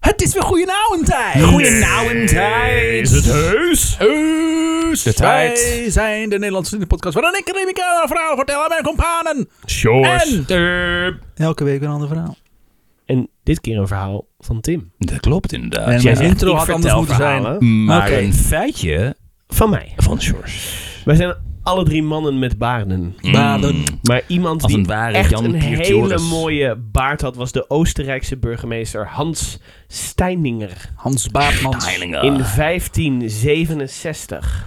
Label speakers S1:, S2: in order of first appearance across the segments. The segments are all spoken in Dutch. S1: Het is weer goede avondtijd.
S2: Goeie nauwentijd.
S1: Is het heus?
S2: Heus. De tijd.
S1: Wij zijn de Nederlandse Vriendenpodcast waarin ik een verhaal verhaal vertel aan mijn companen.
S2: Shores.
S1: En- Elke week een ander verhaal.
S3: En dit keer een verhaal van Tim.
S2: Dat klopt inderdaad.
S1: En
S2: Ja,
S1: mijn
S3: zegt,
S1: intro
S3: ik
S1: had anders
S3: vertel
S1: moeten zijn.
S3: verhalen
S2: Maar
S1: Oké.
S2: een feitje
S3: Van mij.
S2: van Shores.
S3: Wij zijn alle drie mannen met baarden.
S1: Mm. Baden.
S3: Maar iemand
S2: Als
S3: die
S2: een ware
S3: echt
S2: Jan
S3: een
S2: Piet
S3: hele
S2: Joris.
S3: mooie baard had, was de Oostenrijkse burgemeester Hans Steininger
S1: Hans Baatmans.
S2: Heilinga.
S3: in 1567.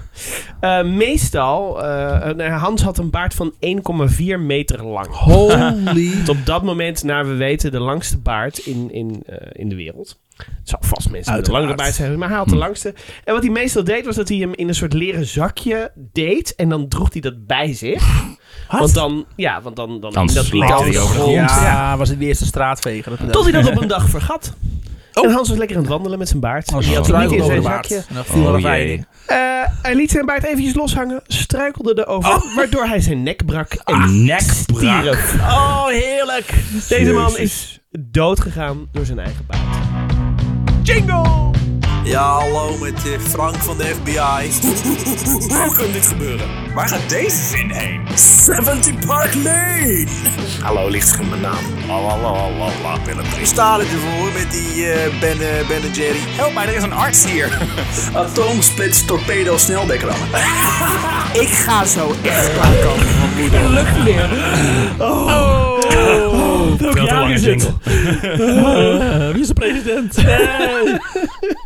S3: Eh, meestal, eh, nou, Hans had een baard van 1,4 meter lang.
S1: Holy.
S3: Het op dat moment, naar we weten, de langste baard in, in, eh, in de wereld. Het zou vast mensen met een
S1: Uiteraard. Hm.
S3: langere baard zijn, maar hij had de langste. En wat hij meestal deed, was dat hij hem in een soort leren zakje deed. En dan droeg hij dat bij zich. Want dan, ja, want dan, dan,
S2: Dan
S3: hing dat
S2: slikte
S3: niet
S2: hij
S3: aan de
S2: over de
S3: grond. Ja.
S1: was het de eerste straatveger.
S3: Tot hij dat op een dag vergat.
S1: Oh.
S3: En Hans was lekker aan het wandelen met zijn baard.
S1: Als
S3: hij
S1: je
S3: had
S1: had
S3: het niet
S1: struikelt over de
S3: in zijn
S1: baard.
S3: zakje.
S1: En dan viel er
S2: Oh
S1: een
S2: jee.
S1: vijf.
S3: Eh, hij liet zijn baard eventjes loshangen, struikelde erover, waardoor hij zijn Oh. nek brak en
S2: Ah, nek brak.
S3: stierf. Oh, heerlijk. Deze man is
S2: Jezus.
S3: doodgegaan door zijn eigen baard. Jingle!
S4: Ja, hallo met eh, Frank van de FBI. Hoe kan dit gebeuren? Waar gaat deze zin heen? 70 Park Lane! Hallo, lichtscherm mijn naam. Sta ervoor met die eh, ben, eh, ben en Jerry. Help mij, er is een arts hier. Atoomsplits torpedo snelbekrammen. Ik ga zo echt klaarkomen van moeder.
S3: Lukt weer. Oh, welk
S2: Veel te
S3: jaar
S2: lange
S3: is het?
S2: jingle. Eh,
S1: Wie is de president?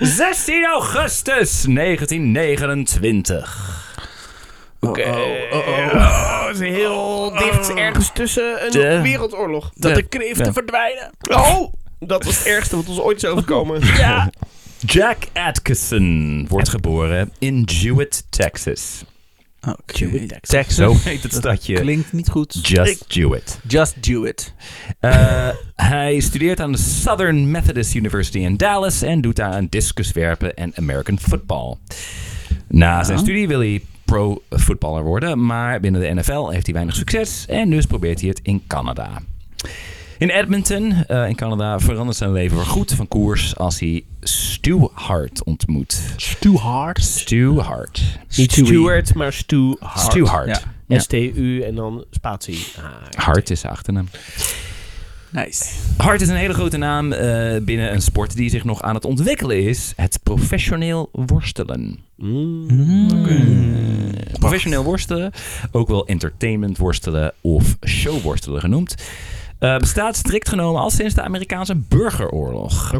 S2: 16 augustus 1929.
S1: Oké.
S3: Oh, het is heel dicht Oh. ergens tussen een
S2: De-
S3: wereldoorlog.
S1: Dat
S2: de-
S1: de kreeften
S2: ja.
S1: verdwijnen.
S3: Oh, dat was het ergste wat ons ooit is overkomen.
S1: Ja.
S2: Jack Atkinson wordt geboren in Jewett, Texas.
S1: Texas.
S2: Zo heet het stadje.
S1: Klinkt niet goed.
S2: Just Jewett.
S1: Just do it.
S2: Eh, hij studeert aan de Southern Methodist University in Dallas en doet daar aan discuswerpen en American football. Na zijn studie wil hij pro-voetballer worden, maar binnen de NFL heeft hij weinig succes en dus probeert hij het in Canada. In Edmonton, eh, in Canada, verandert zijn leven voorgoed van koers als hij Stu Hart ontmoet.
S1: Too hard.
S2: Stu Hart.
S3: Niet Stuart, maar Stu Hart.
S2: Stu Hart.
S1: Ja.
S2: Ja.
S3: S-T-U en dan spatie. Ah,
S2: Hart is de achternaam.
S1: Nice.
S2: Hart is een hele grote naam eh, binnen een sport die zich nog aan het ontwikkelen is. Het professioneel worstelen.
S3: Mm.
S4: Hmm.
S2: Professioneel worstelen, ook wel entertainment worstelen of show worstelen genoemd, eh, bestaat strikt genomen al sinds de Amerikaanse burgeroorlog.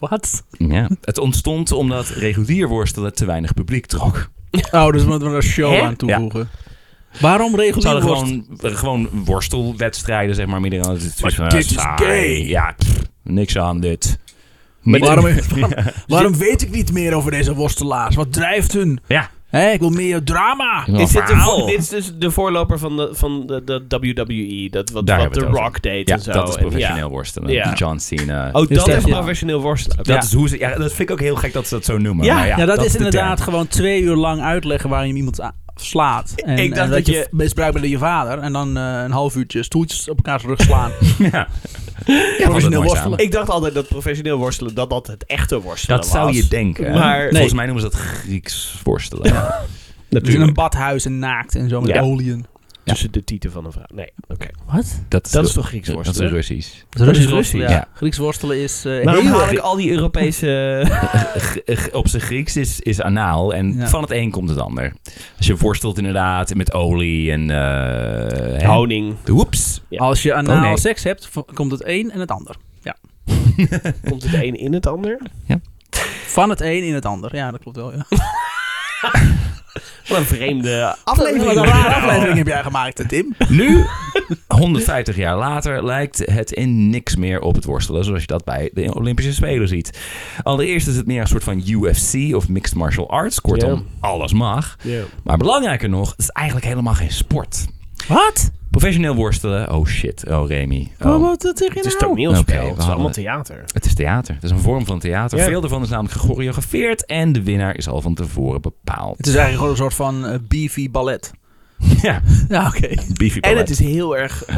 S1: Wat?
S2: Ja. Het ontstond omdat regulier worstelen te weinig publiek trok.
S1: Oh, dus we moeten er een show
S3: Hè?
S1: aan toevoegen. Waarom
S2: Ze
S1: regulier
S2: hadden
S1: worst?
S2: gewoon, eh, gewoon worstelwedstrijden, zeg maar, midden aan het zoiets van,
S1: dit is
S2: saai.
S1: gay.
S2: Ja, pff, niks aan dit.
S1: waarom, waarom, waarom weet ik niet meer over deze worstelaars? Wat drijft hun?
S2: Ja.
S1: Hé, ik wil meer drama.
S2: Ja.
S3: Is dit, de
S2: verhaal.
S3: vo- dit is dus de voorloper van de, van de, de WWE, dat, wat,
S2: Daar
S3: wat
S2: hebben
S3: The
S2: we het over.
S3: Rock deed
S2: Ja,
S3: en zo.
S2: dat is
S3: En ja.
S2: professioneel worstelen.
S3: Ja.
S2: John Cena.
S3: Oh,
S1: Dus
S3: dat
S1: dat
S3: is
S1: je-
S3: professioneel worstelen.
S2: dat
S3: Ja.
S2: is hoe ze, ja, dat vind ik ook heel gek dat ze dat zo noemen.
S3: Ja,
S2: maar
S1: Ja, dat, is
S2: de term.
S1: inderdaad gewoon twee uur lang uitleggen waar je iemand a- slaat. En, en
S3: ik dacht
S1: dat
S3: dat
S1: je
S3: je-
S1: misbruikt bent door je vader. En dan eh, een half uurtje stoeltjes op elkaars rug slaan.
S2: Ja.
S1: Professioneel
S2: mooi
S1: worstelen.
S2: samen.
S3: Ik dacht altijd dat professioneel worstelen, dat dat het echte worstelen
S2: Dat
S3: was.
S2: zou je denken.
S3: Maar-
S2: Maar
S1: Nee.
S2: volgens mij noemen ze dat Grieks worstelen. Ja.
S1: Dus in een badhuis en naakt en zo met
S3: Ja.
S1: oliën.
S3: Tussen de tieten van een vrouw. Nee, oké.
S1: Wat?
S3: Dat is toch Grieks
S2: Dat is
S3: worstelen?
S2: Russisch.
S1: Russisch
S3: is
S1: worstelen, ja.
S2: Russisch.
S1: Grieks worstelen is eh,
S3: Waarom
S1: heel
S3: haal
S1: erg-
S3: ik al die Europese...
S2: G- g- eh, Op zijn Grieks is, is anaal en
S1: Ja.
S2: van het een komt het ander. Dus je worstelt inderdaad met olie en... eh, hè.
S3: honing
S2: Oeps.
S3: Ja.
S1: Als je anaal
S2: Oh, nee.
S1: seks hebt, v- komt het een en het ander.
S3: komt het een in het ander?
S1: Van het een in het ander. Ja, dat klopt wel. Ja.
S3: Wat een vreemde
S1: Wat
S3: aflevering.
S1: een rare aflevering heb jij gemaakt, hè, Tim.
S2: Nu, 150 jaar later, lijkt het in niks meer op het worstelen zoals je dat bij de Olympische Spelen ziet. Allereerst is het meer een soort van UFC of Mixed Martial Arts. Kortom,
S3: Ja.
S2: alles mag.
S3: Ja.
S2: Maar belangrijker nog, het is eigenlijk helemaal geen sport.
S1: Wat?
S2: Professioneel worstelen, oh shit, oh Remy. Oh.
S1: Oh, wat, wat zeg je
S3: Het is
S1: nou?
S3: toneelspel,
S2: Oké, we
S3: het is
S2: hadden-
S3: allemaal theater.
S2: Het is theater, het is een vorm van theater.
S3: Ja.
S2: Veel daarvan is namelijk gechoreografeerd en de winnaar is al van tevoren bepaald.
S1: Het is eigenlijk gewoon een soort van eh, beefy ballet.
S2: Ja,
S1: Ja, Eh, oké.
S2: beefy
S3: En
S2: palet.
S3: het is heel erg... eh,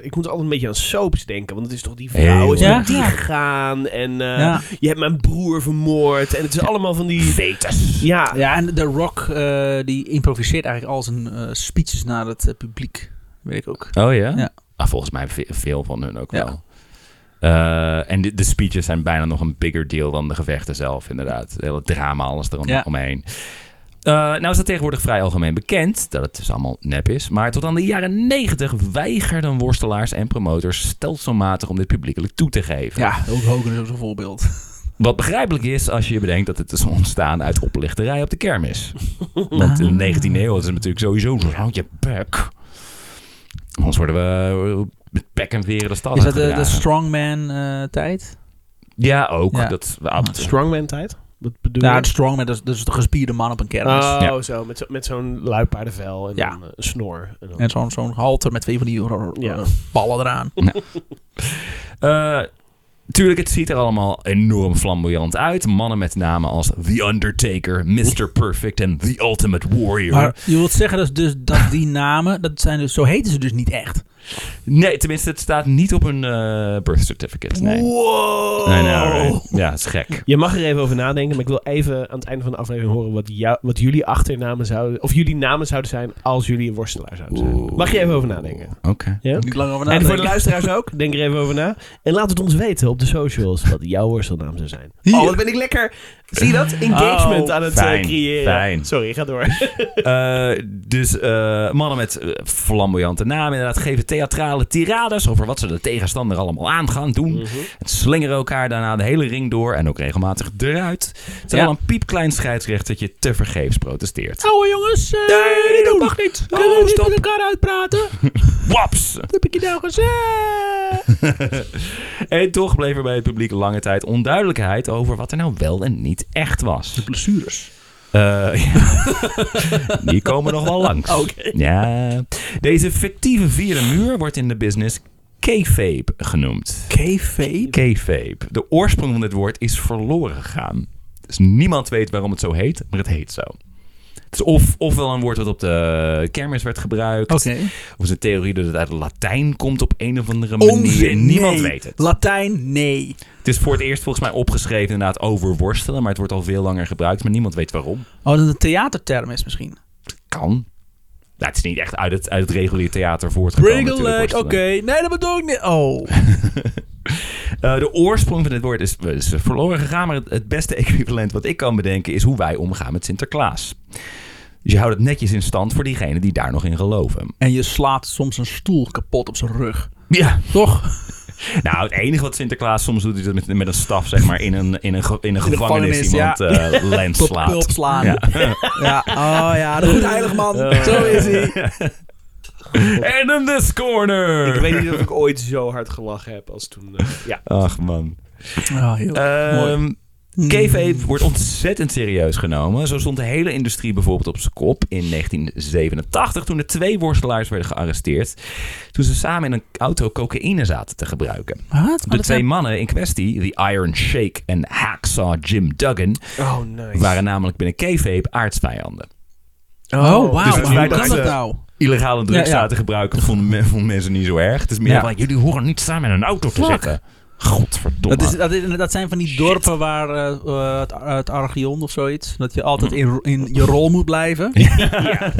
S3: ik moet altijd een beetje aan soaps denken. Want het is toch die vrouw is
S2: Heel
S3: naar
S1: erg.
S3: die
S1: Ja.
S3: gegaan. En eh,
S1: Ja.
S3: je hebt mijn broer vermoord. En het is allemaal van die... Fetus. Ja.
S1: Ja, en The Rock eh, die improviseert eigenlijk al zijn eh, speeches naar het eh, publiek. Weet ik ook.
S2: Oh ja?
S1: Ja.
S2: Ah, volgens mij ve- veel van hun ook
S1: Ja.
S2: wel. Eh, en de, de speeches zijn bijna nog een bigger deal dan de gevechten zelf, inderdaad. Het hele drama, alles
S1: Ja.
S2: eromheen. Eh nou is dat tegenwoordig vrij algemeen bekend, dat het dus allemaal nep is. Maar tot aan de jaren negentig weigerden worstelaars en promotors stelselmatig om dit publiekelijk toe te geven.
S1: Ja, ook Hogan is ook zo'n voorbeeld.
S2: Wat begrijpelijk is als je bedenkt dat het is ontstaan uit oplichterij op de kermis. Want in de 19e eeuw is het natuurlijk sowieso zo, houd je bek. Anders worden we eh, met pek en veren de stad
S1: Is dat de, de
S2: uitgedragen.
S1: strongman eh, tijd?
S2: Ja, ook.
S1: Ja.
S2: Dat, ah, dat-
S3: Strongman tijd. Wat bedoel
S1: Ja,
S3: je?
S1: Nou, de strongman, dat is, dat is de gespierde man op een kermis.
S3: Oh,
S2: Ja.
S3: zo. Met, zo, met zo'n luipaardenvel en
S1: Ja.
S3: dan, eh, een snor. En dan-
S1: En zo'n zo'n halter met twee van die r- r-
S3: Ja.
S1: ballen eraan.
S2: Eh, tuurlijk, het ziet er allemaal enorm flamboyant uit. Mannen met namen als The Undertaker, Mr. Perfect en The Ultimate Warrior.
S1: Maar je wilt zeggen dat, dus, dat die namen, dat zijn dus, zo heten ze dus niet echt.
S2: Nee, tenminste, het staat niet op hun eh, birth certificate. Nee.
S1: Wow!
S2: I know, right? Ja, dat is gek.
S3: Je mag er even over nadenken, maar ik wil even aan het einde van de aflevering horen wat, jou, wat jullie achternamen zouden, of jullie namen zouden zijn als jullie een worstelaar zouden zijn.
S2: Oeh.
S3: Mag je even over nadenken?
S2: Oké.
S3: Ja?
S1: Niet lang over
S3: En voor
S1: nadenken.
S3: de luisteraars ook, denk er even over na. En laat het ons weten op de socials wat jouw worstelnaam zou zijn.
S1: Hier.
S3: Oh, wat ben ik lekker, zie je dat? Engagement
S1: Oh,
S3: aan het eh,
S2: fijn,
S3: creëren.
S2: fijn.
S3: Sorry, ga door.
S2: Eh, dus eh, mannen met eh, flamboyante namen inderdaad geven theatrale tirades over wat ze de tegenstander allemaal aan gaan doen.
S1: Mm.
S3: Mhm.
S2: Het slingeren elkaar daarna de hele ring door en ook regelmatig eruit. Terwijl
S1: Ja.
S2: een piepklein scheidsrechtertje tevergeefs protesteert.
S1: Oude jongens, eh,
S2: Nee, dat
S1: doe-
S2: mag niet.
S1: Kunnen we
S2: Oh,
S1: niet
S2: stop.
S1: met elkaar uitpraten?
S2: Waps!
S1: Dat heb ik je nou gezegd.
S2: En toch bleef er bij het publiek lange tijd onduidelijkheid over wat er nou wel en niet echt was.
S1: Blessures.
S2: Eh, ja. Die komen nog wel langs.
S1: Oké.
S2: Ja. Deze fictieve vierde muur wordt in de business kayfabe genoemd.
S1: K-vape?
S2: Kayfabe. De oorsprong van dit woord is verloren gegaan. Dus niemand weet waarom het zo heet, maar het heet zo. Het is of, ofwel een woord dat op de kermis werd gebruikt. Of is een theorie dat het uit het Latijn komt op een of andere manier.
S1: Onzin.
S2: niemand
S1: Oh, nee.
S2: weet het.
S1: Latijn, nee.
S2: Het is voor het eerst volgens mij opgeschreven inderdaad over worstelen. Maar het wordt al veel langer gebruikt. Maar niemand weet waarom.
S1: Oh, dat het een theaterterm is misschien.
S2: Kan. Nou, het is niet echt uit het, uit het reguliere theater voortgekomen. natuurlijk,
S1: oké.
S2: worstelen.
S1: Nee, dat bedoel ik niet. Oh.
S2: Eh, de oorsprong van dit woord is, is verloren gegaan, maar het, het beste equivalent wat ik kan bedenken is hoe wij omgaan met Sinterklaas. Dus je houdt het netjes in stand voor diegenen die daar nog in geloven.
S1: En je slaat soms een stoel kapot op zijn rug.
S2: Ja.
S1: Toch?
S2: Nou, het enige wat Sinterklaas soms doet, is dat met, met een staf, zeg maar, in een, in een, ge- in een
S1: de
S2: gevangenis,
S1: gevangenis,
S2: iemand
S1: ja.
S2: eh lens
S1: Tot pulp
S2: slaat.
S1: slaan.
S2: Ja.
S1: Ja. Oh ja, de goede heilig man. Zo is hij.
S2: En in this corner!
S3: ik weet niet of ik ooit zo hard gelachen heb als toen. eh, ja.
S2: Ach, man.
S1: Oh, heel
S2: Ehm
S1: Mooi. Hmm.
S2: Kayfabe wordt ontzettend serieus genomen. Zo stond de hele industrie bijvoorbeeld op zijn kop in 1987 toen er twee worstelaars werden gearresteerd. Toen ze samen in een auto cocaïne zaten te gebruiken.
S1: Wat?
S2: De twee mannen in kwestie, The Iron Shake en Hacksaw Jim Duggan,
S3: Oh, nice.
S2: waren namelijk binnen Kayfabe aardsvijanden.
S1: Oh, wauw.
S2: Dus
S1: maar
S2: wij
S1: hoe kan
S2: dachten-
S1: dat nou?
S2: Illegale drugs
S1: Ja, ja.
S2: zaten gebruiken vonden, men- vonden mensen niet zo erg. Het is meer
S1: Ja.
S2: van, jullie horen niet samen in een auto te
S1: Fuck.
S2: zitten. Godverdomme.
S1: Dat, is, dat, is- dat zijn van die dorpen waar eh, eh, het, het Archeon of zoiets. Dat je altijd
S2: Mm.
S1: in, in je rol moet blijven.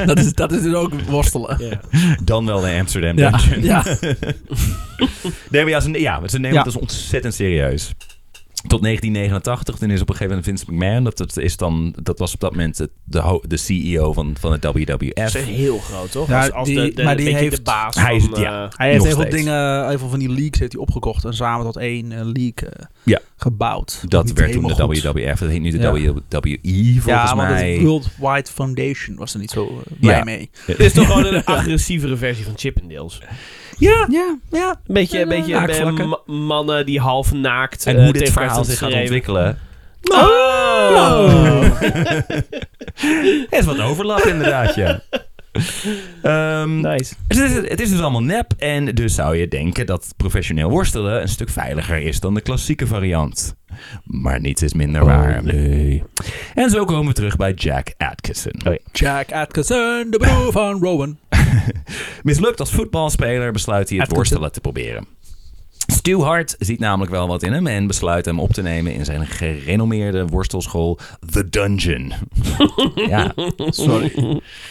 S1: Dat, is, dat is dus ook worstelen.
S3: Ja.
S2: Dan wel de Amsterdam
S1: Ja.
S2: Dungeon.
S1: ja.
S2: Nee, maar ja, ze, ja, ze nemen
S1: Ja.
S2: het dus ontzettend serieus. Tot 1989, toen is op een gegeven moment Vince McMahon, dat, dat, is dan, dat was op dat moment het- de, ho- de CEO van, van het WWF.
S3: Dat is heel groot, toch?
S1: Ja,
S3: als, als
S1: die-
S3: de, de,
S1: maar die
S3: een beetje de
S1: heeft-
S3: baas
S2: Hij is-
S3: van... eh,
S2: ja.
S1: Hij heeft
S2: Nog
S1: heel veel
S2: steeds.
S1: dingen, eh, heel veel van die leaks heeft hij opgekocht en samen tot één eh, leak eh,
S2: Ja.
S1: gebouwd.
S2: Dat
S1: Niet
S2: werd toen de
S1: helemaal goed.
S2: WWF, dat heet nu de
S1: Ja.
S2: WWE volgens
S1: Ja, want
S2: mij.
S1: het World Wide Foundation was er niet zo eh, blij
S2: Ja.
S1: mee.
S3: Dit is toch gewoon een agressievere versie van Chippendales.
S1: Ja, ja, ja.
S3: Een beetje, een beetje eh,
S2: Haakvlakken.
S3: ma- mannen die half naakt
S2: en
S3: eh,
S2: hoe dit
S3: tegen
S2: verhaal
S3: elkaar
S2: zich
S3: staan
S2: gaat
S3: te schreeuwen.
S2: ontwikkelen.
S3: Oh!
S2: Er is wat overlap inderdaad, ja. Ehm,
S3: Nice.
S2: Het is, het is dus allemaal nep en dus zou je denken dat professioneel worstelen een stuk veiliger is dan de klassieke variant. Maar niets is minder waar. En zo komen we terug bij Jack Atkinson.
S1: Jack Atkinson, de broer van Rowan.
S2: Mislukt als voetbalspeler besluit hij het
S1: Atkinson.
S2: worstelen te proberen. Stu Hart ziet namelijk wel wat in hem en besluit hem op te nemen in zijn gerenommeerde worstelschool The Dungeon. ja, sorry.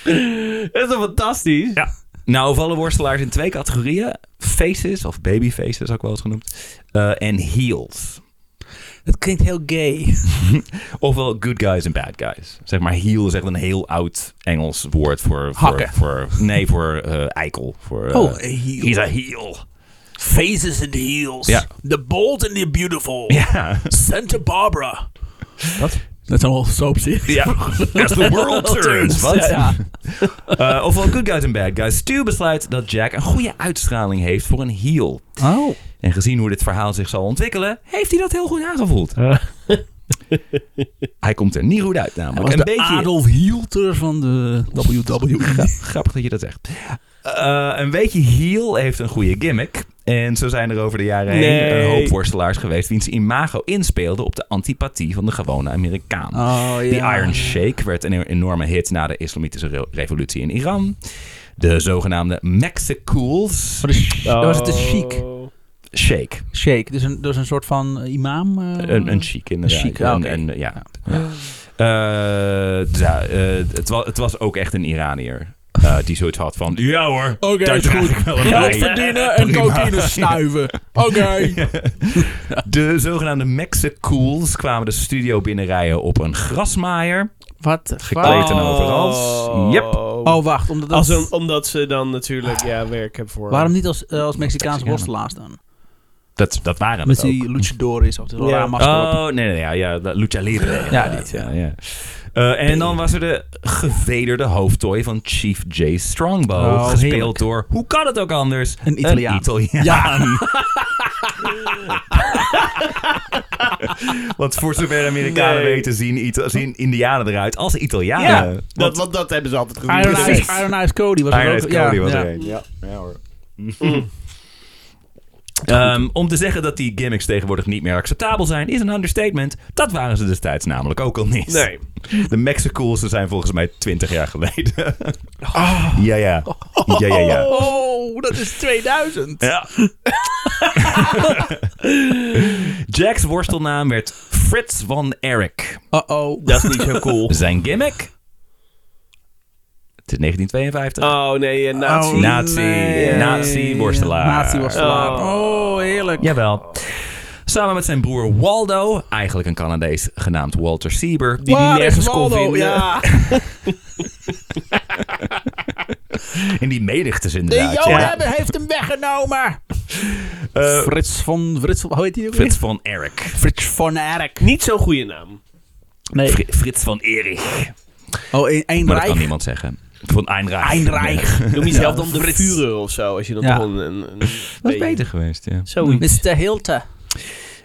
S3: Dat is toch fantastisch?
S2: Ja. Nou, vallen worstelaars in twee categorieën: faces of babyfaces, ook wel eens genoemd, eh, en heels.
S1: Het klinkt heel gay.
S2: Ofwel good guys en bad guys. Zeg maar heel is echt een heel oud Engels woord voor... voor
S1: Hakken.
S2: Voor, nee, voor eh, eikel. Voor, eh,
S1: Oh, een heel.
S2: He's a heel.
S1: Faces and heels.
S2: Ja.
S1: The bold and the beautiful.
S2: Ja.
S1: Santa Barbara. Wat? Dat zijn al soapseries.
S2: ja. As the world turns. Wat?
S1: Ja,
S2: Eh, ofwel good guys en bad guys. Stu besluit dat Jack een goede uitstraling heeft voor een heel.
S1: Oh.
S2: En gezien hoe dit verhaal zich zal ontwikkelen, heeft hij dat heel goed aangevoeld.
S1: Eh.
S2: hij komt er niet goed uit
S1: Hij
S2: namelijk.
S1: was
S2: een
S1: de
S2: beetje...
S1: Adolf Hilter van de E. WWE.
S2: Grappig dat je dat zegt. Eh, een beetje heel heeft een goede gimmick. En zo zijn er over de jaren heen
S3: Nee.
S2: een hoop worstelaars geweest... wiens imago inspeelde op de antipathie van de gewone Amerikaan.
S1: Oh, ja.
S2: The Iron Shake werd een enorme hit na de islamitische re- revolutie in Iran. De zogenaamde Mexicools
S1: Maar de sh-
S3: Nou,
S1: Dat was het de chic.
S3: Oh.
S2: Shake.
S1: Shake. Dus een, dus een soort van eh, imam. eh?
S2: Een, een chic inderdaad.
S1: chic, ah,
S2: Een-
S1: oké.
S2: een- ja. Eh, ja, eh, het, was, het was ook echt een Iranier eh, die zoiets had van... Ja hoor,
S1: Oké,
S2: daar
S1: is
S2: draag
S1: goed.
S2: ik wel een
S1: Geld
S2: bij."
S1: verdienen en
S2: Prima.
S1: cocaïne snuiven. Oké.
S2: De zogenaamde Mexicools kwamen de studio binnenrijden op een grasmaaier.
S1: Wat?
S2: Gekleed en overal. Yep.
S1: Oh, wacht. Omdat dat-
S3: Als een- omdat ze dan natuurlijk ja, werk hebben voor...
S1: waarom niet als, eh, als Mexicaanse
S2: Mexicanen.
S1: worstelaars dan?
S2: Dat, dat waren
S1: Met
S2: het ook.
S1: die luchadores of de
S3: Ja.
S1: Rama's dorp.
S2: Oh, nee, nee, ja, ja de Lucha Libre.
S1: Ja, dit, ja.
S2: Eh, en dan was er de gevederde hoofdtooi van Chief J. Strongbow.
S1: Oh,
S2: gespeeld
S1: heerlijk.
S2: door, hoe kan het ook anders?
S1: Een Italiaan.
S2: Een Italiaan.
S1: Ja.
S2: Want voor zover Amerikanen
S3: Nee.
S2: weten, zien, Ita- zien Indianen eruit als Italianen.
S3: Ja,
S2: Want-
S3: dat, want dat hebben ze altijd gezien.
S1: Iron
S2: Precies.
S1: Eyes, Iron Eyes Cody was er
S2: Iron
S1: ook.
S2: Eyes Cody
S1: ja,
S2: was
S1: ja.
S2: er één. Ja, ja hoor.
S3: Mm.
S2: Ehm, om te zeggen dat die gimmicks tegenwoordig niet meer acceptabel zijn, is een understatement. Dat waren ze destijds namelijk ook al niet.
S3: Nee.
S2: De Mexicools ze zijn volgens mij 20 jaar geleden.
S3: Oh.
S2: Ja, ja. Ja, ja, ja.
S1: Oh, dat is 2000.
S2: Ja. Jack's worstelnaam werd Fritz van Eric.
S1: Uh-oh.
S3: Dat is niet zo cool.
S2: Zijn gimmick? Het is 1952.
S3: Oh nee, eh, nazi.
S1: Oh,
S2: Nazi. Nazi worstelaar.
S1: Nazi worstelaar.
S3: Oh.
S1: Oh, heerlijk.
S2: Jawel. Samen met zijn broer Waldo, eigenlijk een Canadees genaamd Walter Sieber.
S3: die
S1: Waar
S3: nergens
S1: is
S3: kon
S1: Waldo?
S3: vinden.
S1: Ja.
S2: En die meedigters
S1: De
S2: inderdaad.
S1: Joden
S2: ja.
S1: hebben- heeft hem weggenomen.
S2: Eh,
S1: Frits van... Frits, van- hoe heet die ook
S2: Frits
S1: weer?
S2: van Eric.
S1: Frits van Erk.
S3: Niet zo'n goede naam.
S1: Nee.
S2: Fri- Frits van Erich.
S1: Oh, een, een
S2: Maar dat kan
S1: Rijk.
S2: niemand zeggen. Van Einreich.
S1: Eindreich.
S3: Noem jezelf
S1: Ja.
S3: dan de
S1: Frits.
S3: Führer of zo. Als je dan
S1: Ja.
S3: toch een... een, een
S2: Dat is
S3: beetje-
S2: beter geweest, ja.
S3: Zoiets.
S1: Mr. Hilte.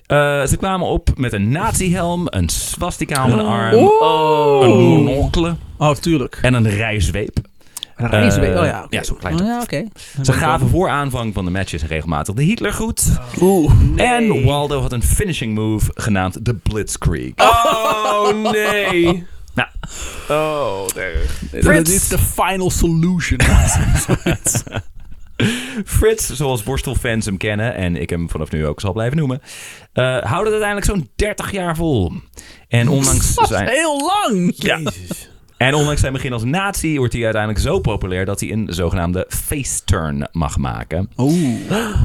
S2: Eh, ze kwamen op met een nazi-helm, een swastika aan een arm,
S1: Oh.
S2: een monocle
S1: Oh, tuurlijk.
S2: en een rijzweep.
S1: Rijswijk.
S2: Eh,
S1: oh ja, oké.
S2: ja, zo'n klein
S1: Oh, ja, oké. Oh,
S2: Ze gaven voor aanvang van de matches regelmatig de Hitlergroet.
S1: Oeh.
S2: En Waldo had een finishing move genaamd de Blitzkrieg.
S3: Oh nee.
S2: Nou,
S3: Oh, nee.
S1: Dit is de final solution.
S2: Frits, zoals worstelfans hem kennen en ik hem vanaf nu ook zal blijven noemen, eh houdt het uiteindelijk zo'n 30 jaar vol. En ondanks,
S1: Dat is
S2: zijn,
S1: heel lang.
S2: Ja.
S3: Jezus.
S2: en ondanks zijn begin als nazi wordt hij uiteindelijk zo populair dat hij een zogenaamde face turn mag maken.
S1: Oeh.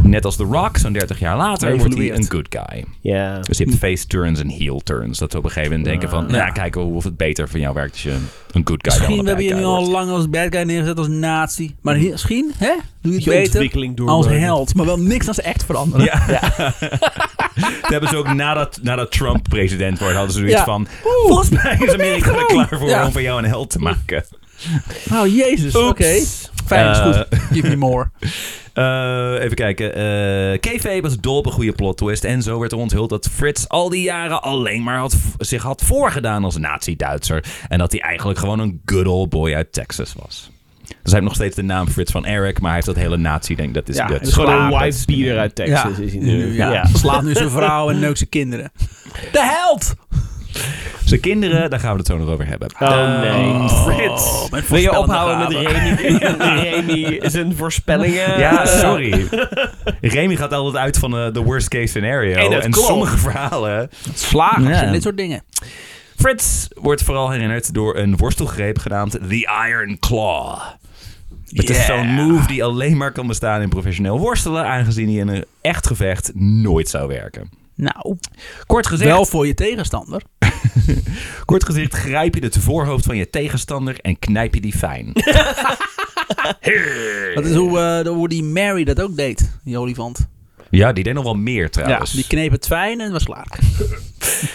S2: Net als The Rock, zo'n 30 jaar later, wordt hij een
S1: Geëvolueerd.
S2: good guy.
S3: Ja.
S2: Dus je hebt
S1: Hmm.
S2: face turns en heel turns. Dat we op een gegeven moment denken van, nou ja, kijken we of het beter van jou werkt als je een good guy
S1: Misschien
S2: dan een
S1: hebben
S2: bad
S1: je nu
S2: guy
S1: al
S2: wordt.
S1: lang als bad guy neergezet als nazi. Maar hier- misschien, hè? Doe je het
S3: Je
S1: beter
S3: ontwikkeling door.
S1: als held. Maar wel niks als echt veranderen.
S2: eh, Ja. Dat hebben ze ook nadat, nadat Trump president wordt, hadden ze zoiets
S1: Ja.
S2: van...
S1: Oeh.
S2: Volgens mij is Amerika er
S1: Gewoon.
S2: klaar voor
S1: Ja.
S2: om van jou een held te maken.
S1: Oh, jezus. Oké. Fijn, is
S2: Eh,
S1: goed. Give me more.
S2: Eh, even kijken. Eh KV was dol op een goede plot twist. En zo werd er onthuld dat Frits al die jaren alleen maar had, zich had voorgedaan als Nazi-Duitser. En dat hij eigenlijk gewoon een good old boy uit Texas was. Dus hij heeft nog steeds de naam Frits van Eric, maar hij heeft dat hele nazi-ding. Dat is,
S1: Ja,
S2: dat
S3: Het is gewoon een
S2: klaar, dat
S3: wife
S2: is-
S3: beater uit Texas. Is hij nu.
S1: ja. Slaat nu zijn vrouw en neukt zijn kinderen. De held!
S2: Zijn kinderen, daar gaan we het zo nog over hebben. Eh,
S3: Oh nee,
S1: Oh,
S3: Frits.
S1: mijn
S3: Wil je
S1: voorspellende
S3: ophouden Oh, met
S1: gaven.
S3: Remy, Remy zijn voorspellingen?
S2: Ja, sorry. Remy gaat altijd uit van eh, de worst case scenario.
S3: Hey, dat
S2: en
S3: klopt.
S2: sommige verhalen.
S1: Slagers
S2: Ja.
S1: en dit soort dingen.
S2: Frits wordt vooral herinnerd door een worstelgreep genaamd The Iron Claw. Het is zo'n move die alleen maar kan bestaan in professioneel worstelen, aangezien die in een echt gevecht nooit zou werken.
S1: Nou,
S2: Kort gezegd,
S1: wel voor je tegenstander.
S2: kort gezegd grijp je het voorhoofd van je tegenstander en knijp je die fijn.
S1: Dat is hoe, eh, hoe die Mary dat ook deed, die olifant.
S2: ja, die deed nog wel meer trouwens.
S1: Die kneep het fijn en was klaar.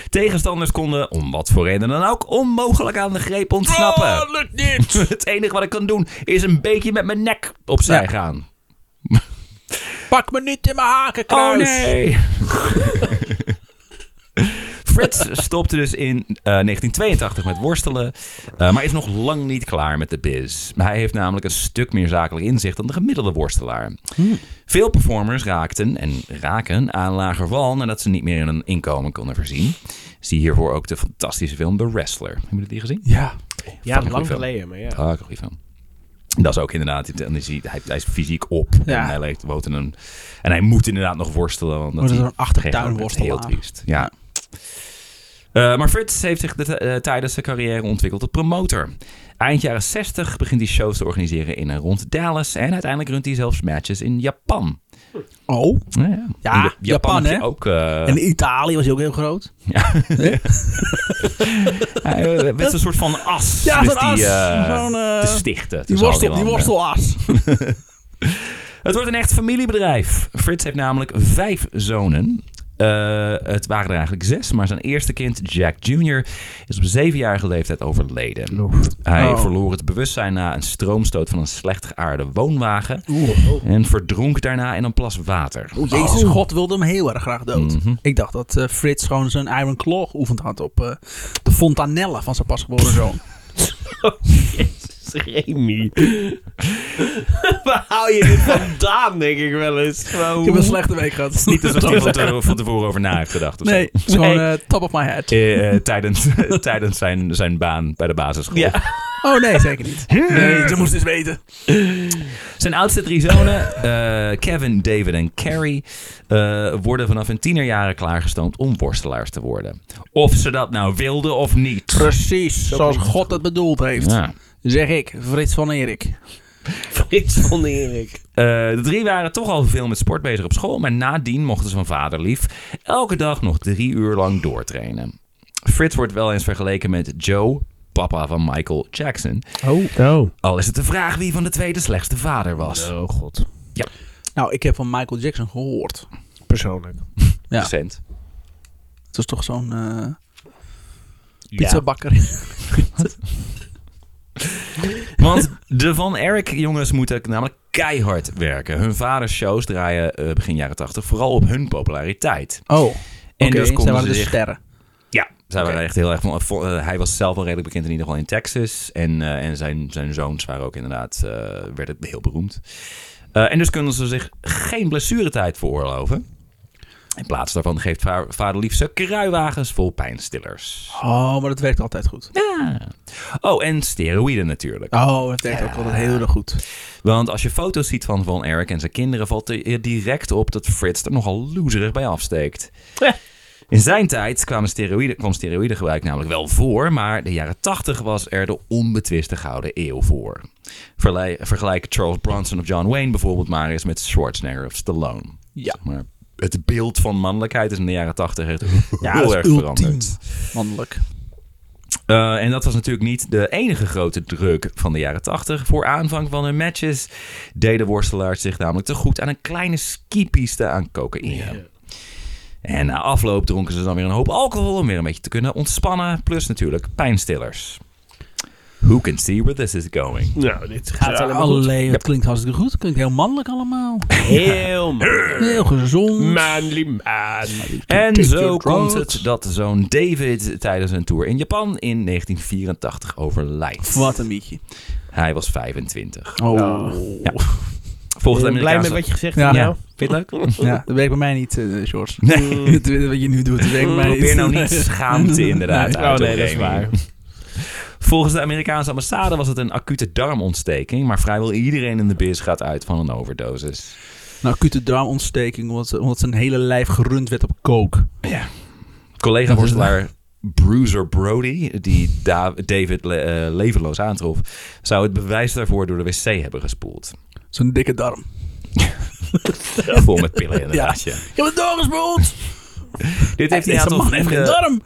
S2: Tegenstanders konden, om wat voor reden dan ook, onmogelijk aan de greep ontsnappen.
S1: lukt niet!
S2: Het enige wat ik kan doen is een beetje met mijn nek opzij
S1: Ja.
S2: gaan.
S1: Pak me niet in mijn haken, kruis!
S2: Oh, Fritz stopte dus in eh, 1982 met worstelen, eh, maar is nog lang niet klaar met de biz. Hij heeft namelijk een stuk meer zakelijk inzicht dan de gemiddelde worstelaar. Veel performers raakten en raken aan lager wal nadat ze niet meer in een inkomen konden voorzien. Zie hiervoor ook de fantastische film The Wrestler. Hebben jullie die gezien?
S1: Ja.
S3: Ja,
S2: Fucking
S3: lang
S2: film.
S3: geleden, maar ja.
S2: Ah, ik goeie film. Dat is ook inderdaad, dan is hij, hij, hij is fysiek op.
S1: Ja.
S2: En, hij leeft, woont in een, en hij moet inderdaad nog worstelen. Want
S1: Wordt er een achtertuin
S2: Heel
S1: worstelaar.
S2: triest, ja. Eh, maar Fritz heeft zich de- eh, tijdens zijn carrière ontwikkeld tot promotor. Eind jaren 60 begint hij shows te organiseren in en rond Dallas. En uiteindelijk runt hij zelfs matches in Japan.
S1: Oh,
S2: Ja, ja.
S1: Ja,
S2: In
S1: Japan,
S2: heb je
S1: hè?
S2: Ook, eh,
S1: en in Italië was hij ook heel groot.
S2: hij, eh, wist een soort van as.
S1: Ja,
S2: wist
S1: zo'n as.
S2: die, eh,
S1: Zo'n, eh,
S2: te
S1: Die
S2: stichten. tussen al
S1: worstel, die
S2: landen.
S1: worstelas.
S2: Het wordt een echt familiebedrijf. Frits heeft namelijk vijf zonen. Eh, het waren er eigenlijk zes, maar zijn eerste kind, Jack Jr., is op zevenjarige leeftijd overleden. Hij
S1: Oh.
S2: verloor het bewustzijn na een stroomstoot van een slecht geaarde woonwagen en verdronk daarna in een plas water.
S1: Oh, Jezus, God wilde hem heel erg graag dood.
S2: Mhm.
S1: Ik dacht dat eh, Frits gewoon zijn Iron Claw geoefend had op eh, de fontanelle van zijn pasgeboren zoon.
S3: Remy. Waar hou je dit vandaan, denk ik wel eens. Gewoon,
S1: Ik heb een slechte week gehad.
S2: Niet alsof hij van te- van tevoren over na heeft gedacht of zo.
S1: Nee, het is gewoon eh, top of my head.
S2: Eh, eh, tijdens tijdens zijn, zijn baan bij de basisschool.
S3: Ja.
S1: Oh nee, zeker niet. Nee, ze moest eens weten.
S2: Zijn oudste drie zonen, eh, Kevin, David en Carrie, eh, worden vanaf hun tienerjaren klaargestoomd om worstelaars te worden. Of ze dat nou wilden of niet.
S1: Precies, zoals God het bedoeld heeft.
S2: Ja.
S1: Zeg ik, Frits van Erik.
S3: Frits van Erik.
S2: Eh, de drie waren toch al veel met sport bezig op school, maar nadien mochten ze van vader lief elke dag nog drie uur lang doortrainen. Frits wordt wel eens vergeleken met Joe, papa van Michael Jackson.
S3: Oh. Oh.
S2: Al is het de vraag wie van de twee de slechtste vader was.
S3: Oh god.
S1: Nou, ik heb van Michael Jackson gehoord.
S3: Persoonlijk.
S1: Ja.
S2: Recent.
S1: Het was toch zo'n eh
S3: Ja.
S1: pizzabakker.
S2: Want de Van Eric jongens moeten namelijk keihard werken. Hun vaders shows draaien eh, begin jaren 80 vooral op hun populariteit.
S1: Oh, oké.
S2: dus konden
S1: zij waren
S2: ze
S1: de
S2: zich-
S1: sterren.
S2: Ja, zij waren
S1: Oké.
S2: echt heel erg van. vo- eh, hij was zelf al redelijk bekend in ieder geval in Texas. En, eh, en zijn, zijn zoons waren ook inderdaad eh, werden heel beroemd. Eh, en dus kunnen ze zich geen blessuretijd veroorloven. In plaats daarvan geeft va- vader lief ze kruiwagens vol pijnstillers.
S1: Oh, maar dat werkt altijd goed.
S2: Oh, en steroïden natuurlijk.
S1: Oh, dat werkt ook altijd heel erg goed.
S2: Want als je foto's ziet van Von Eric en zijn kinderen, valt er direct op dat Frits er nogal loserig bij afsteekt.
S3: Ja.
S2: In zijn tijd kwamen steroïden, kwam steroïdegebruik namelijk wel voor, maar de jaren 80 was er de onbetwiste gouden eeuw voor. Verlei- vergelijk Charles Bronson of John Wayne bijvoorbeeld maar eens met Schwarzenegger of Stallone.
S1: Ja.
S2: Zeg maar het beeld van mannelijkheid is in de jaren 80 echt
S1: Ja,
S2: heel
S1: dat
S2: erg
S1: is ultiem
S2: veranderd.
S1: mannelijk.
S2: Eh, en dat was natuurlijk niet de enige grote druk van de jaren 80. Voor aanvang van hun matches deden worstelaars zich namelijk te goed aan een kleine skipiste aan cocaïne. En na afloop dronken ze dan weer een hoop alcohol om weer een beetje te kunnen ontspannen. Plus natuurlijk pijnstillers. Who can see where this is going?
S3: Nou, dit gaat helemaal goed.
S1: Allee, het klinkt hartstikke goed. Het klinkt heel mannelijk allemaal.
S3: Heel man.
S1: Heel gezond.
S3: Manly man.
S2: En zo
S1: your
S2: komt
S1: drugs.
S2: het dat zo'n David tijdens een tour in Japan in 1984 overlijdt.
S1: Wat een mietje.
S2: Hij was 25.
S1: Oh.
S2: Ja. Volgens de
S3: Ik ben blij met
S2: Amerikaanse...
S3: wat je gezegd
S1: Ja.
S3: hebt.
S1: Ja.
S3: nou.
S2: Vind je het leuk?
S1: Ja, dat werkt bij mij niet, eh George.
S2: Nee.
S1: Wat je nu doet, dat werkt bij mij niet.
S2: Probeer nou niet schaamte inderdaad
S1: Nee.
S2: uit
S3: Oh,
S2: te
S3: nee, dat is
S2: brengen.
S3: waar.
S2: Volgens de Amerikaanse ambassade was het een acute darmontsteking, maar vrijwel iedereen in de biz gaat uit van een overdosis.
S1: Een acute darmontsteking, omdat, ze- omdat zijn hele lijf gerund werd op coke.
S2: Ja. Collega worstelaar Bruiser Brody, die Da- David le- eh, levenloos aantrof, zou het bewijs daarvoor door de wc hebben gespoeld.
S1: Zo'n dikke darm.
S2: Vol met pillen inderdaad. Ja.
S1: Ik heb een darm gespoeld!
S2: Dit heeft hij een
S1: Deze
S2: aantal
S1: man heeft geen
S2: vrienden-
S1: darm!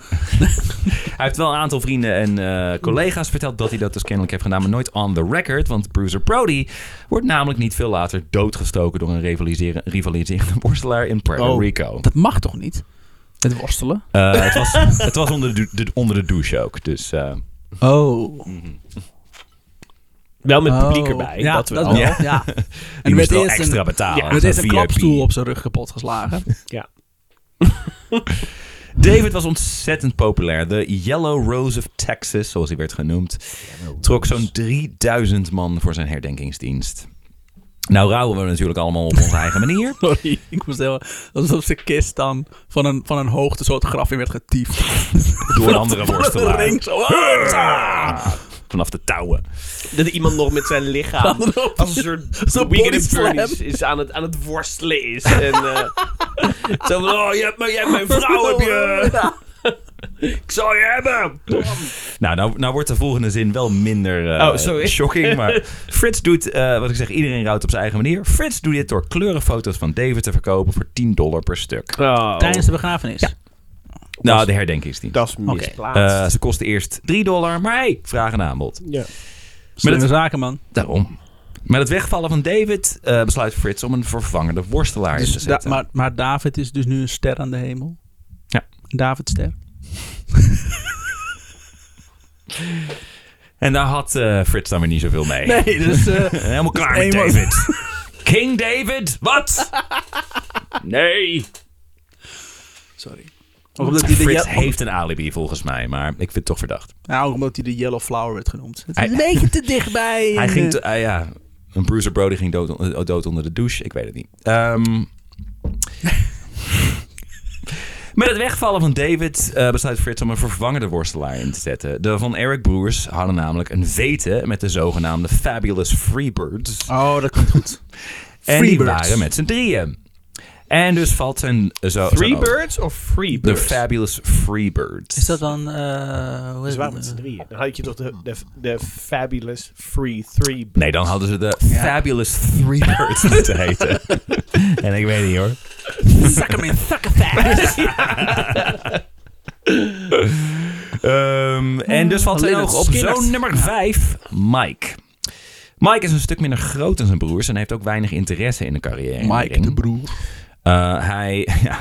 S2: Hij heeft wel een aantal vrienden en eh, collega's verteld dat hij dat dus kennelijk heeft gedaan, maar nooit on the record. Want Bruiser Brody wordt namelijk niet veel later doodgestoken door een rivaliseren- rivaliserende worstelaar in Puerto
S1: Oh.
S2: Rico.
S1: Dat mag toch niet? Het worstelen?
S2: Eh, het was, het was onder, de, dou- de- onder de douche ook. Dus eh,
S1: Oh.
S3: Wel met
S1: Oh.
S3: publiek erbij.
S1: Ja,
S3: dat wel.
S1: wel. Ja.
S2: die
S1: En
S2: moest
S1: werd
S2: wel
S1: eerst
S2: extra
S1: een,
S2: betalen.
S3: ja,
S1: werd eerst
S2: Zo'n
S1: een
S2: VIP.
S1: klapstoel op zijn rug kapot geslagen.
S3: Ja.
S2: David was ontzettend populair. De Yellow Rose of Texas, zoals hij werd genoemd, trok zo'n 3000 man voor zijn herdenkingsdienst. Nou rouwen we natuurlijk allemaal op onze eigen manier.
S1: Sorry, ik moest heel... Alsof zijn kist dan van een, van een hoogte zo het graf in werd getiefd.
S2: Door een andere worstelaar.
S1: ring zo.
S2: Ah, Vanaf de touwen.
S3: Dat iemand nog met zijn lichaam als een soort
S1: Zo'n
S3: Weekend
S1: body
S3: at
S1: slam.
S3: Bernie's is aan het, aan het worstelen is. En eh zo van, oh, je hebt, mijn- je hebt mijn vrouw, heb je.
S1: Oh.
S3: Ik zal je hebben.
S2: Nou, nou, nou wordt de volgende zin wel minder eh,
S3: Oh, sorry.
S2: shocking. Maar Frits doet, eh, wat ik zeg, iedereen rouwt op zijn eigen manier. Frits doet dit door kleurenfoto's van David te verkopen voor 10 dollar per stuk.
S1: Tijdens de begrafenis.
S2: Nou, de herdenkingsdienst.
S3: Oh. dat is misplaatst.
S2: Eh, ze kosten eerst 3 dollar, maar hey, vraag en aanbod.
S3: ja.
S1: Slimme
S2: dat-
S1: zaken, man.
S2: Daarom. Met het wegvallen van David eh, besluit Frits om een vervangende worstelaar in
S1: Dus
S2: te
S1: da-
S2: zetten.
S1: maar, maar David is dus nu een ster aan de hemel.
S2: Ja.
S1: Davidster.
S2: En daar had eh, Frits dan weer niet zoveel mee.
S1: Nee, dus... eh,
S2: Helemaal klaar met
S1: Eenmaal-
S2: David. King David, wat? Nee.
S1: sorry. Ook omdat, hij de
S2: Frits
S1: ye-
S2: heeft een alibi volgens mij, maar ik vind het toch verdacht.
S1: nou, ook omdat hij de Yellow Flower werd genoemd. Het is
S2: Hij-
S1: een beetje te dichtbij.
S2: Hij
S1: En,
S2: ging,
S1: eh,
S2: te- ah ja, een Bruiser Brody ging dood, on- eh, dood onder de douche. Ik weet het niet. Ehm, met het wegvallen van David eh, besluit Frits om een vervangende worstelaar in te zetten. De Van Eric broers hadden namelijk een weten met de zogenaamde Fabulous Freebirds.
S1: Oh, dat komt goed.
S2: en die
S1: Freebirds.
S2: waren met z'n drieën. En dus valt zijn... Zo, zijn-
S3: Freebirds of
S2: De
S3: Freebirds?
S2: Fabulous Freebirds.
S1: Is dat dan... eh hoe heet
S3: Dus
S1: het?
S3: waarom met z'n drieën? Dan had je toch de, de, de Fabulous Free Three
S2: Nee, dan hadden ze de
S1: Ja.
S2: Fabulous Freebirds moeten heten. en ik weet niet hoor.
S1: Suck hem in, suck a fat.
S2: Ehm, en dus valt zijn
S1: Leonard
S2: oog op
S1: Skinner.
S2: zoon nummer 5, Mike. Mike is een stuk minder groot dan zijn broers en heeft ook weinig interesse in de carrière.
S1: Mike, de broer.
S2: Eh, hij, ja,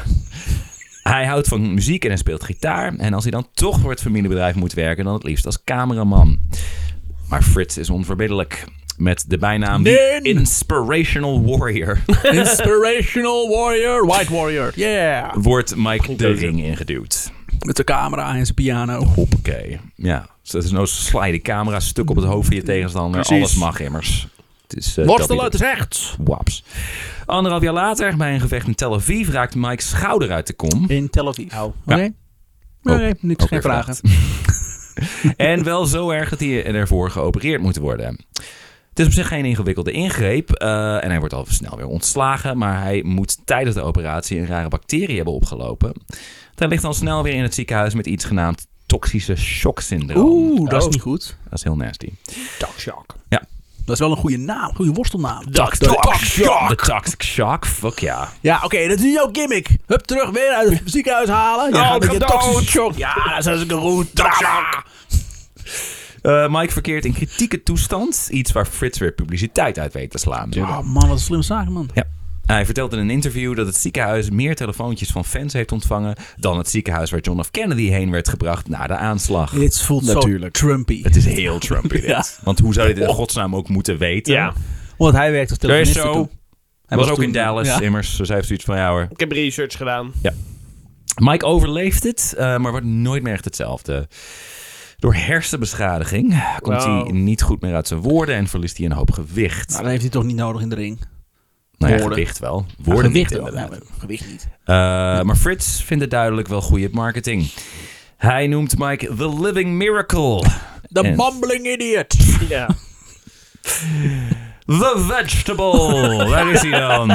S2: hij houdt van muziek en hij speelt gitaar. En als hij dan toch voor het familiebedrijf moet werken, dan het liefst als cameraman. Maar Frits is onverbiddelijk. Met de bijnaam The
S1: Nin.
S2: Inspirational Warrior
S1: Inspirational warrior, white warrior. Yeah.
S2: wordt Mike de ring ingeduwd.
S1: Met de camera en zijn piano.
S2: Hoppakee. Ja, dus dat is nou slide de camera stuk op het hoofd van je tegenstander.
S1: Precies.
S2: Alles mag immers. Het is, eh,
S1: Worstelen,
S2: dat-
S1: het is rechts.
S2: Waps. Anderhalf jaar later, bij een gevecht in Tel Aviv, raakt Mike's schouder uit de kom.
S1: In Tel Aviv.
S3: Oh.
S1: Oké. Nee, niks, geen
S2: Ook weer
S1: vragen.
S2: En wel zo erg dat hij ervoor geopereerd moet worden. Het is op zich geen ingewikkelde ingreep eh, en hij wordt al snel weer ontslagen. Maar hij moet tijdens de operatie een rare bacterie hebben opgelopen. Hij ligt dan snel weer in het ziekenhuis met iets genaamd toxische shock syndroom.
S1: Oeh,
S2: Oh.
S1: dat is niet goed.
S2: Dat is heel nasty.
S3: Duck Shock.
S2: Ja.
S1: Dat is wel een goede naam, goede worstelnaam.
S2: Tox-
S1: Duck
S2: tox-
S1: Shock.
S2: De toxic shock, fuck ja.
S1: Ja, oké, dat is nu jouw gimmick. Hup, terug weer uit het ziekenhuis halen. Ja,
S3: ik
S1: met
S3: ga
S1: je
S3: dood.
S1: toxische shock. Ja, dat is een goed. drama.
S2: Eh, Mike verkeert in kritieke toestand. Iets waar Frits weer publiciteit uit weet te slaan.
S1: Oh man, wat een slim zaak, man.
S2: Ja. Hij vertelt in een interview dat het ziekenhuis meer telefoontjes van fans heeft ontvangen dan het ziekenhuis waar John F. Kennedy heen werd gebracht na de aanslag.
S1: Dit voelt
S3: Natuurlijk.
S1: zo Trumpy.
S2: Het is heel Trump dit. Want hoe zou je dit in godsnaam ook moeten weten?
S3: Ja.
S1: Want hij werkt als
S2: Er is
S1: telefonist.
S2: zo.
S1: toen.
S2: Hij
S1: Hij
S2: was,
S1: was
S2: ook in
S1: toen-
S2: Dallas
S1: ja. Nou,
S2: immers. Dus hij heeft zoiets van, ja hoor.
S3: Ik heb research gedaan.
S2: Mike overleeft het, eh, maar wordt nooit meer echt hetzelfde. Door hersenbeschadiging komt
S3: Wow.
S2: hij niet goed meer uit zijn woorden en verliest hij een hoop gewicht.
S1: Nou, dat heeft hij toch niet nodig in de ring.
S2: Nou ja,
S1: Woorden.
S2: gewicht wel. Woorden niet,
S1: wel.
S2: inderdaad.
S1: Nou, gewicht niet.
S2: Eh, maar Frits vindt het duidelijk wel goede marketing. Hij noemt Mike The Living Miracle.
S1: The
S2: En-
S1: mumbling idiot.
S3: Ja.
S2: The Vegetable. Daar is hij dan.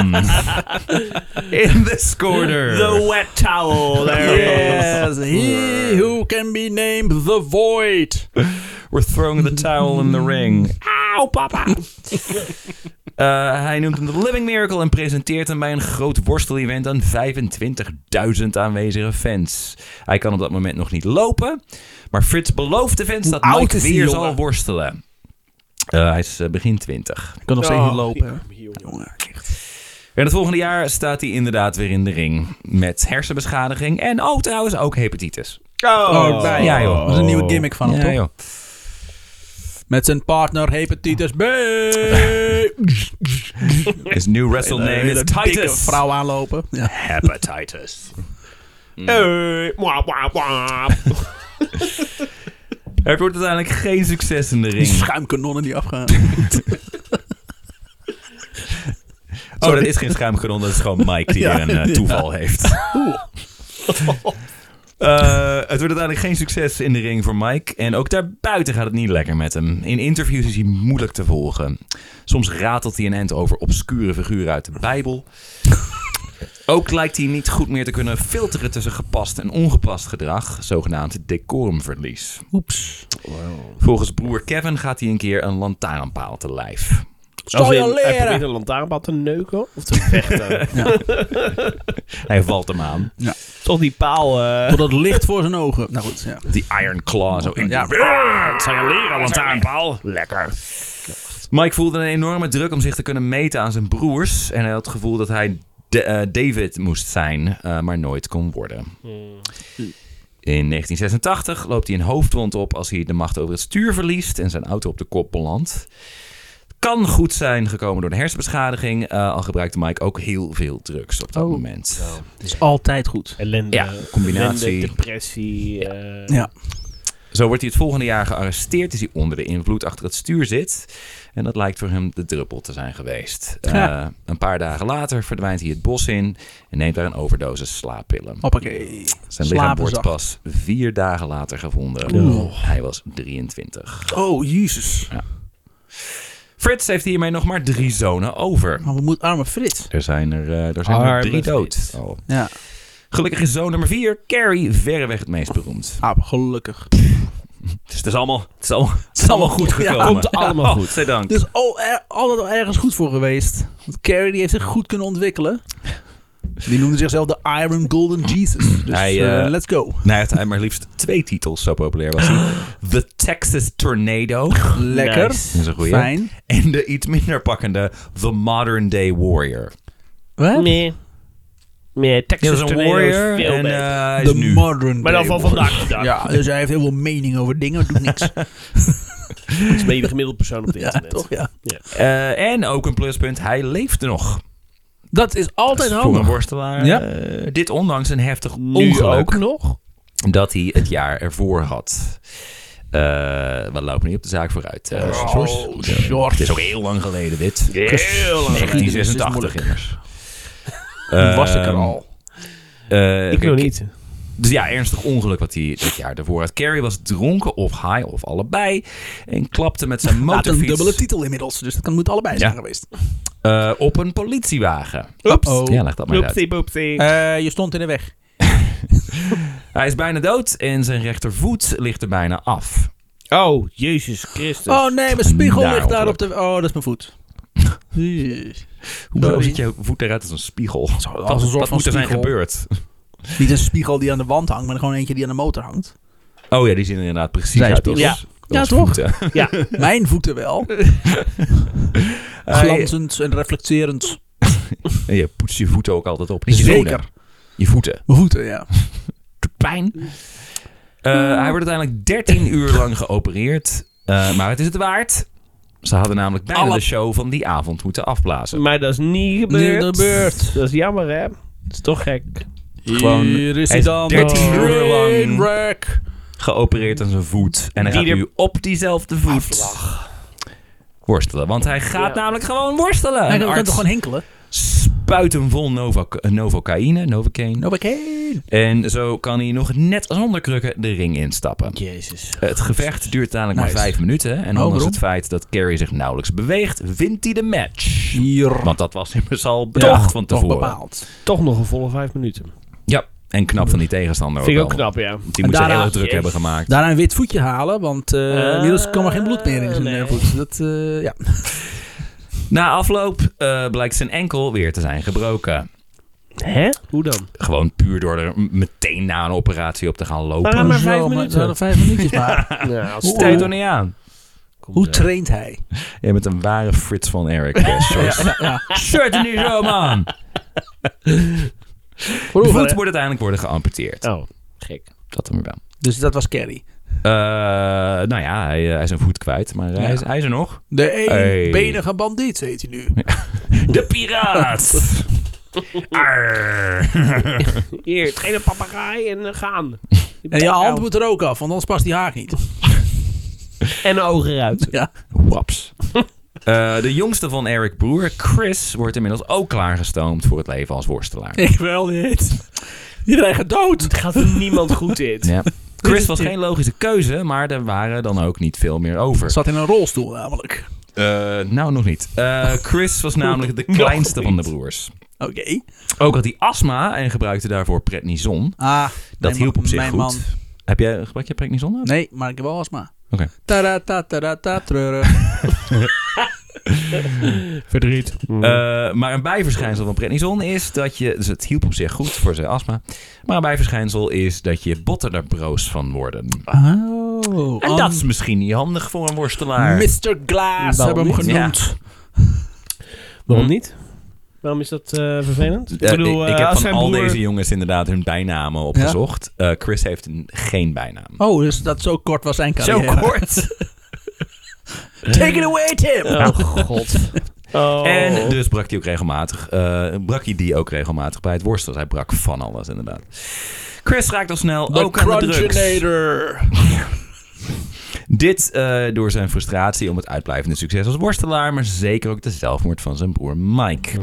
S2: In this corner.
S3: The wet towel. There it is.
S1: Yes, he who can be named the void.
S2: We're throwing the towel in the ring. Auw,
S1: Oh,
S2: papa! Eh, hij noemt hem de Living Miracle en presenteert hem bij een groot worstel-event aan 25.000 aanwezige fans. Hij kan op dat moment nog niet lopen, maar Frits belooft de fans dat
S1: oud
S2: Mike
S1: is die
S2: weer
S1: jongen?
S2: zal worstelen. Eh, hij is eh, begin 20.
S1: Ik kan nog
S3: Oh.
S1: steeds niet lopen.
S2: En het volgende jaar staat hij inderdaad weer in de ring. Met hersenbeschadiging en oh, trouwens ook hepatitis.
S3: Oh,
S1: bij.
S2: Ja, joh.
S1: Dat is een nieuwe gimmick van hem,
S2: Ja,
S1: toch?
S2: joh.
S1: Met zijn partner hepatitis B.
S2: His new wrestle name is
S1: Dikke
S2: Titus.
S1: vrouw aanlopen. Ja.
S2: Hepatitis.
S3: Hey, mwah, mwah, mwah.
S2: Het wordt uiteindelijk geen succes in de
S1: Die
S2: ring.
S1: schuimkanonnen die afgaan.
S2: Oh, dat is geen schuimkanon, dat is gewoon Mike die
S1: Ja.
S2: er een eh, toeval heeft. Eh, het wordt uiteindelijk geen succes in de ring voor Mike. En ook daarbuiten gaat het niet lekker met hem. In interviews is hij moeilijk te volgen. Soms ratelt hij een end over obscure figuren uit de Bijbel. Ook lijkt hij niet goed meer te kunnen filteren tussen gepast en ongepast gedrag, zogenaamd decorumverlies.
S1: Oeps.
S2: Volgens broer Kevin gaat hij een keer een lantaarnpaal te lijf.
S1: Zal
S3: Als
S1: je
S3: in, Hij
S1: leren.
S3: probeert een lantaarnpad te neuken of te vechten.
S2: Hij valt hem aan.
S3: Toch die paal. eh
S1: Tot het licht voor zijn ogen. Nou goed, ja.
S2: Die Iron Claw zo in.
S1: Ja.
S2: Het zou je leren, lantaarnpaal. Lekker. Mike voelde een enorme druk om zich te kunnen meten aan zijn broers. En hij had het gevoel dat hij de- eh, David moest zijn, eh, maar nooit kon worden. In 1986 loopt hij een hoofdwond op als hij de macht over het stuur verliest en zijn auto op de kop belandt. Het Kan goed zijn gekomen door de hersenbeschadiging, eh, al gebruikte Mike ook heel veel drugs op dat
S1: Oh.
S2: moment.
S1: is altijd goed.
S3: ellende.
S2: Ja, combinatie.
S3: ellende, depressie. eh,
S1: Ja.
S2: Zo wordt hij het volgende jaar gearresteerd. Is hij onder de invloed achter het stuur zit. En dat lijkt voor hem de druppel te zijn geweest.
S1: Ja.
S2: Eh, een paar dagen later verdwijnt hij het bos in. En neemt daar een overdosis slaappillen.
S1: Hoppakee.
S2: Zijn lichaam
S1: slapen
S2: wordt
S1: zacht.
S2: pas vier dagen later gevonden.
S1: Oeh.
S2: Hij was 23.
S1: Oh, jezus.
S2: Frits heeft hiermee nog maar drie zonen over.
S1: Maar we moeten arme Frits.
S2: Er zijn er, eh, er, zijn er
S3: Arme
S2: drie dood.
S3: Frits.
S2: al.
S1: Ja.
S2: Gelukkig is zoon nummer vier, Carrie, verreweg het meest beroemd.
S1: Ah, gelukkig.
S2: Dus het is allemaal, het is allemaal, het is allemaal goed
S1: Ja,
S2: gekomen.
S1: komt
S2: allemaal goed. dank.
S1: Er is al, er- altijd al ergens goed voor geweest. Want Carrie die heeft zich goed kunnen ontwikkelen. Die noemde zichzelf de Iron Golden Jesus. Dus
S2: Hij,
S1: eh,
S2: eh,
S1: let's go.
S2: Nou, heeft hij maar liefst twee titels, zo populair was hij. The Texas Tornado.
S1: Lekker.
S2: Dat is een goeie.
S1: Fijn.
S2: En de iets minder pakkende The Modern Day Warrior.
S1: Wat?
S3: Nee. Nee, Texas
S2: Dat is een
S3: Tornado
S2: warrior
S3: veel
S2: en
S3: beter.
S2: eh, hij is
S1: De
S2: nu...
S1: modern
S3: maar dan
S1: day
S3: van
S1: woman.
S3: vandaag de dag.
S1: Ja, dus hij heeft heel veel mening over dingen, doet niks.
S3: Dat is ben je de gemiddelde persoon op het
S1: ja,
S3: internet.
S1: toch? Ja.
S2: Eh, en ook een pluspunt, hij leefde nog.
S1: Dat is altijd
S2: Dus Voor een
S1: handig.
S2: worstelaar.
S1: Ja.
S2: eh, dit ondanks een heftig
S3: Nu
S2: ongeluk
S3: ook nog.
S2: dat hij het jaar ervoor had. Eh, we lopen niet op de zaak vooruit. eh, Sjors.
S1: Oh,
S2: Het is
S1: short.
S2: ook heel lang geleden dit.
S3: Heel lang geleden.
S2: 1986 immers.
S1: Was ik er
S2: Ehm,
S1: al.
S2: Eh,
S3: Ik
S2: kijk,
S3: nog niet.
S2: Dus ja, ernstig ongeluk wat hij dit jaar ervoor had. Carrie was dronken of high of allebei. En klapte met zijn
S1: Had een
S2: motorfiets
S1: dubbele titel inmiddels, dus dat kan, moet allebei zijn
S2: Ja.
S1: geweest.
S2: eh, op een politiewagen.
S3: Oeps.
S1: Oh.
S2: Ja, leg dat maar eens uit.
S3: Oepsie, boepsie.
S1: Eh, je stond in de weg.
S2: Hij is bijna dood en zijn rechtervoet ligt er bijna af.
S3: Oh, Jezus Christus.
S1: Oh nee, mijn spiegel
S2: Nou,
S1: ligt daar op de... Oh, dat is mijn voet. Jeez.
S2: Hoezo
S1: Sorry.
S2: ziet je voet eruit als een spiegel?
S1: als
S2: wat
S1: een soort
S2: wat
S1: van
S2: moet er zijn
S1: spiegel.
S2: gebeurd?
S1: Niet een spiegel die aan de wand hangt, maar gewoon eentje die aan de motor hangt.
S2: Oh ja, die zien er inderdaad precies
S1: Zijn
S2: uit als,
S3: spiegel.
S2: als
S1: Ja, toch?
S2: voeten.
S3: Ja.
S1: Mijn voeten wel.
S2: Hij-
S1: Glanzend en reflecterend.
S2: en je poetst je voeten ook altijd op. Niet je
S1: Zeker.
S2: zolen. Je voeten.
S1: Mijn voeten, ja.
S2: de pijn. Eh, hij wordt uiteindelijk 13 uur lang geopereerd. Eh, maar het is het waard. Ze hadden namelijk bijna
S1: Alle-
S2: de show van die avond moeten afblazen.
S3: Maar dat is niet gebeurd.
S1: Niet gebeurd.
S3: Dat is jammer, hè? Dat is toch gek.
S2: Gewoon-
S1: Hier is
S2: hij
S1: hij
S2: is
S1: dan.
S2: 13 uur lang.
S1: Trainwreck.
S2: Geopereerd aan zijn voet. En hij
S3: Die
S2: gaat
S3: er-
S2: nu op diezelfde voet worstelen. Want hij gaat
S3: Ja.
S2: namelijk gewoon worstelen.
S1: Hij
S2: Een
S1: kan
S2: arts
S1: toch gewoon hinkelen?
S2: buitenvol novo- novocaïne, novocaine.
S1: Novocaine.
S2: En zo kan hij nog net zonder krukken de ring instappen.
S3: Jezus.
S2: Het gevecht duurt uiteindelijk
S1: Nice.
S2: maar vijf minuten. En
S1: Oh,
S2: ondanks
S1: waarom?
S2: het feit dat Carrie zich nauwelijks beweegt, wint hij de match.
S1: Hier.
S2: Want dat was immers al bedacht van
S1: toch
S2: tevoren.
S1: bepaald.
S3: Toch nog een volle vijf minuten.
S2: Ja, en knap van die tegenstander
S3: Vind ik
S2: ook
S3: ook
S2: wel.
S3: knap, ja.
S2: Die moet
S1: En
S2: ze heel
S1: daarna-
S2: erg druk
S3: Jezus.
S2: hebben gemaakt.
S1: Daarna een wit voetje halen, want eh
S3: Eh,
S1: inmiddels kwam er geen bloed meer in zijn
S3: nee.
S1: eh, voet. Dat, eh, ja.
S2: Na afloop eh, blijkt zijn enkel weer te zijn gebroken.
S3: Hè? Hoe dan?
S2: Gewoon puur door er m- meteen na een operatie op te gaan lopen.
S3: Ah, maar vijf
S1: Zo,
S3: minuten.
S1: het waren vijf minuutjes maar.
S3: Nou, als
S2: Dat
S1: Hoe-
S2: sta je
S1: hoe-
S2: toch niet aan?
S1: Hoe traint hij?
S2: Je bent een ware Frits van Erik. Shirt er nu zo, man! De voet moet uiteindelijk worden geamputeerd.
S3: Oh, gek.
S2: Dat dan weer wel.
S1: Dus dat was Carrie.
S2: Eh, nou ja, hij, eh, hij is een voet kwijt, maar hij, is, hij is er nog.
S1: De eenbenige
S2: eenbenige
S1: bandiet, heet hij nu.
S2: De piraat! Arr.
S3: Hier, train een papegaai en eh, gaan.
S1: En je hand moet er ook af, want anders past die haak niet.
S3: En ogen eruit.
S1: Ja.
S2: Waps. Eh, de jongste van Eric broer, Chris, wordt inmiddels ook klaargestoomd voor het leven als worstelaar.
S1: Ik wil niet. Iedereen gaat dood.
S3: Het gaat voor niemand goed dit.
S2: Ja. Chris was geen logische keuze, maar er waren dan ook niet veel meer over.
S1: Zat in een rolstoel namelijk.
S2: Eh, nou, nog niet. Eh, Chris was namelijk de kleinste van de broers.
S1: Oké.
S2: Ook had hij astma en gebruikte daarvoor prednison.
S1: Ah,
S2: Dat
S1: mijn
S2: hielp
S1: man-
S2: op zich
S1: mijn
S2: goed.
S1: Man.
S2: Heb jij, gebruik je prednison? Oké.
S1: Nee, maar ik heb wel astma. Tada, ta, tada, ta, treuren.
S3: Verdriet.
S2: Eh, maar een bijverschijnsel van prednison is dat je... Dus het hielp op zich goed voor zijn astma. Maar een bijverschijnsel is dat je botten er broos van worden.
S1: Oh.
S2: En
S1: um,
S2: dat is misschien niet handig voor een worstelaar.
S1: Mr. Glass
S3: Wel
S1: hebben we hem
S2: niet.
S1: genoemd.
S3: Waarom niet? Waarom is dat eh, vervelend?
S2: Eh, ik, ik
S3: eh,
S2: heb
S3: als
S2: van
S3: zijn
S2: al
S3: broer-
S2: deze jongens inderdaad hun bijnamen opgezocht. Eh, Chris heeft een- geen bijnaam.
S1: Oh, dus dat zo kort was zijn
S2: Zo
S1: carrière.
S2: kort.
S1: Take it away, Tim.
S3: Oh, god. Oh.
S2: En dus brak hij ook regelmatig. eh, brak hij die ook regelmatig bij het worstelen. Hij brak van alles inderdaad. Chris raakt al snel
S1: The
S2: ook aan de drugs.
S1: Crunchinator.
S2: Dit eh, door zijn frustratie om het uitblijvende succes als worstelaar, maar zeker ook de zelfmoord van zijn broer Mike.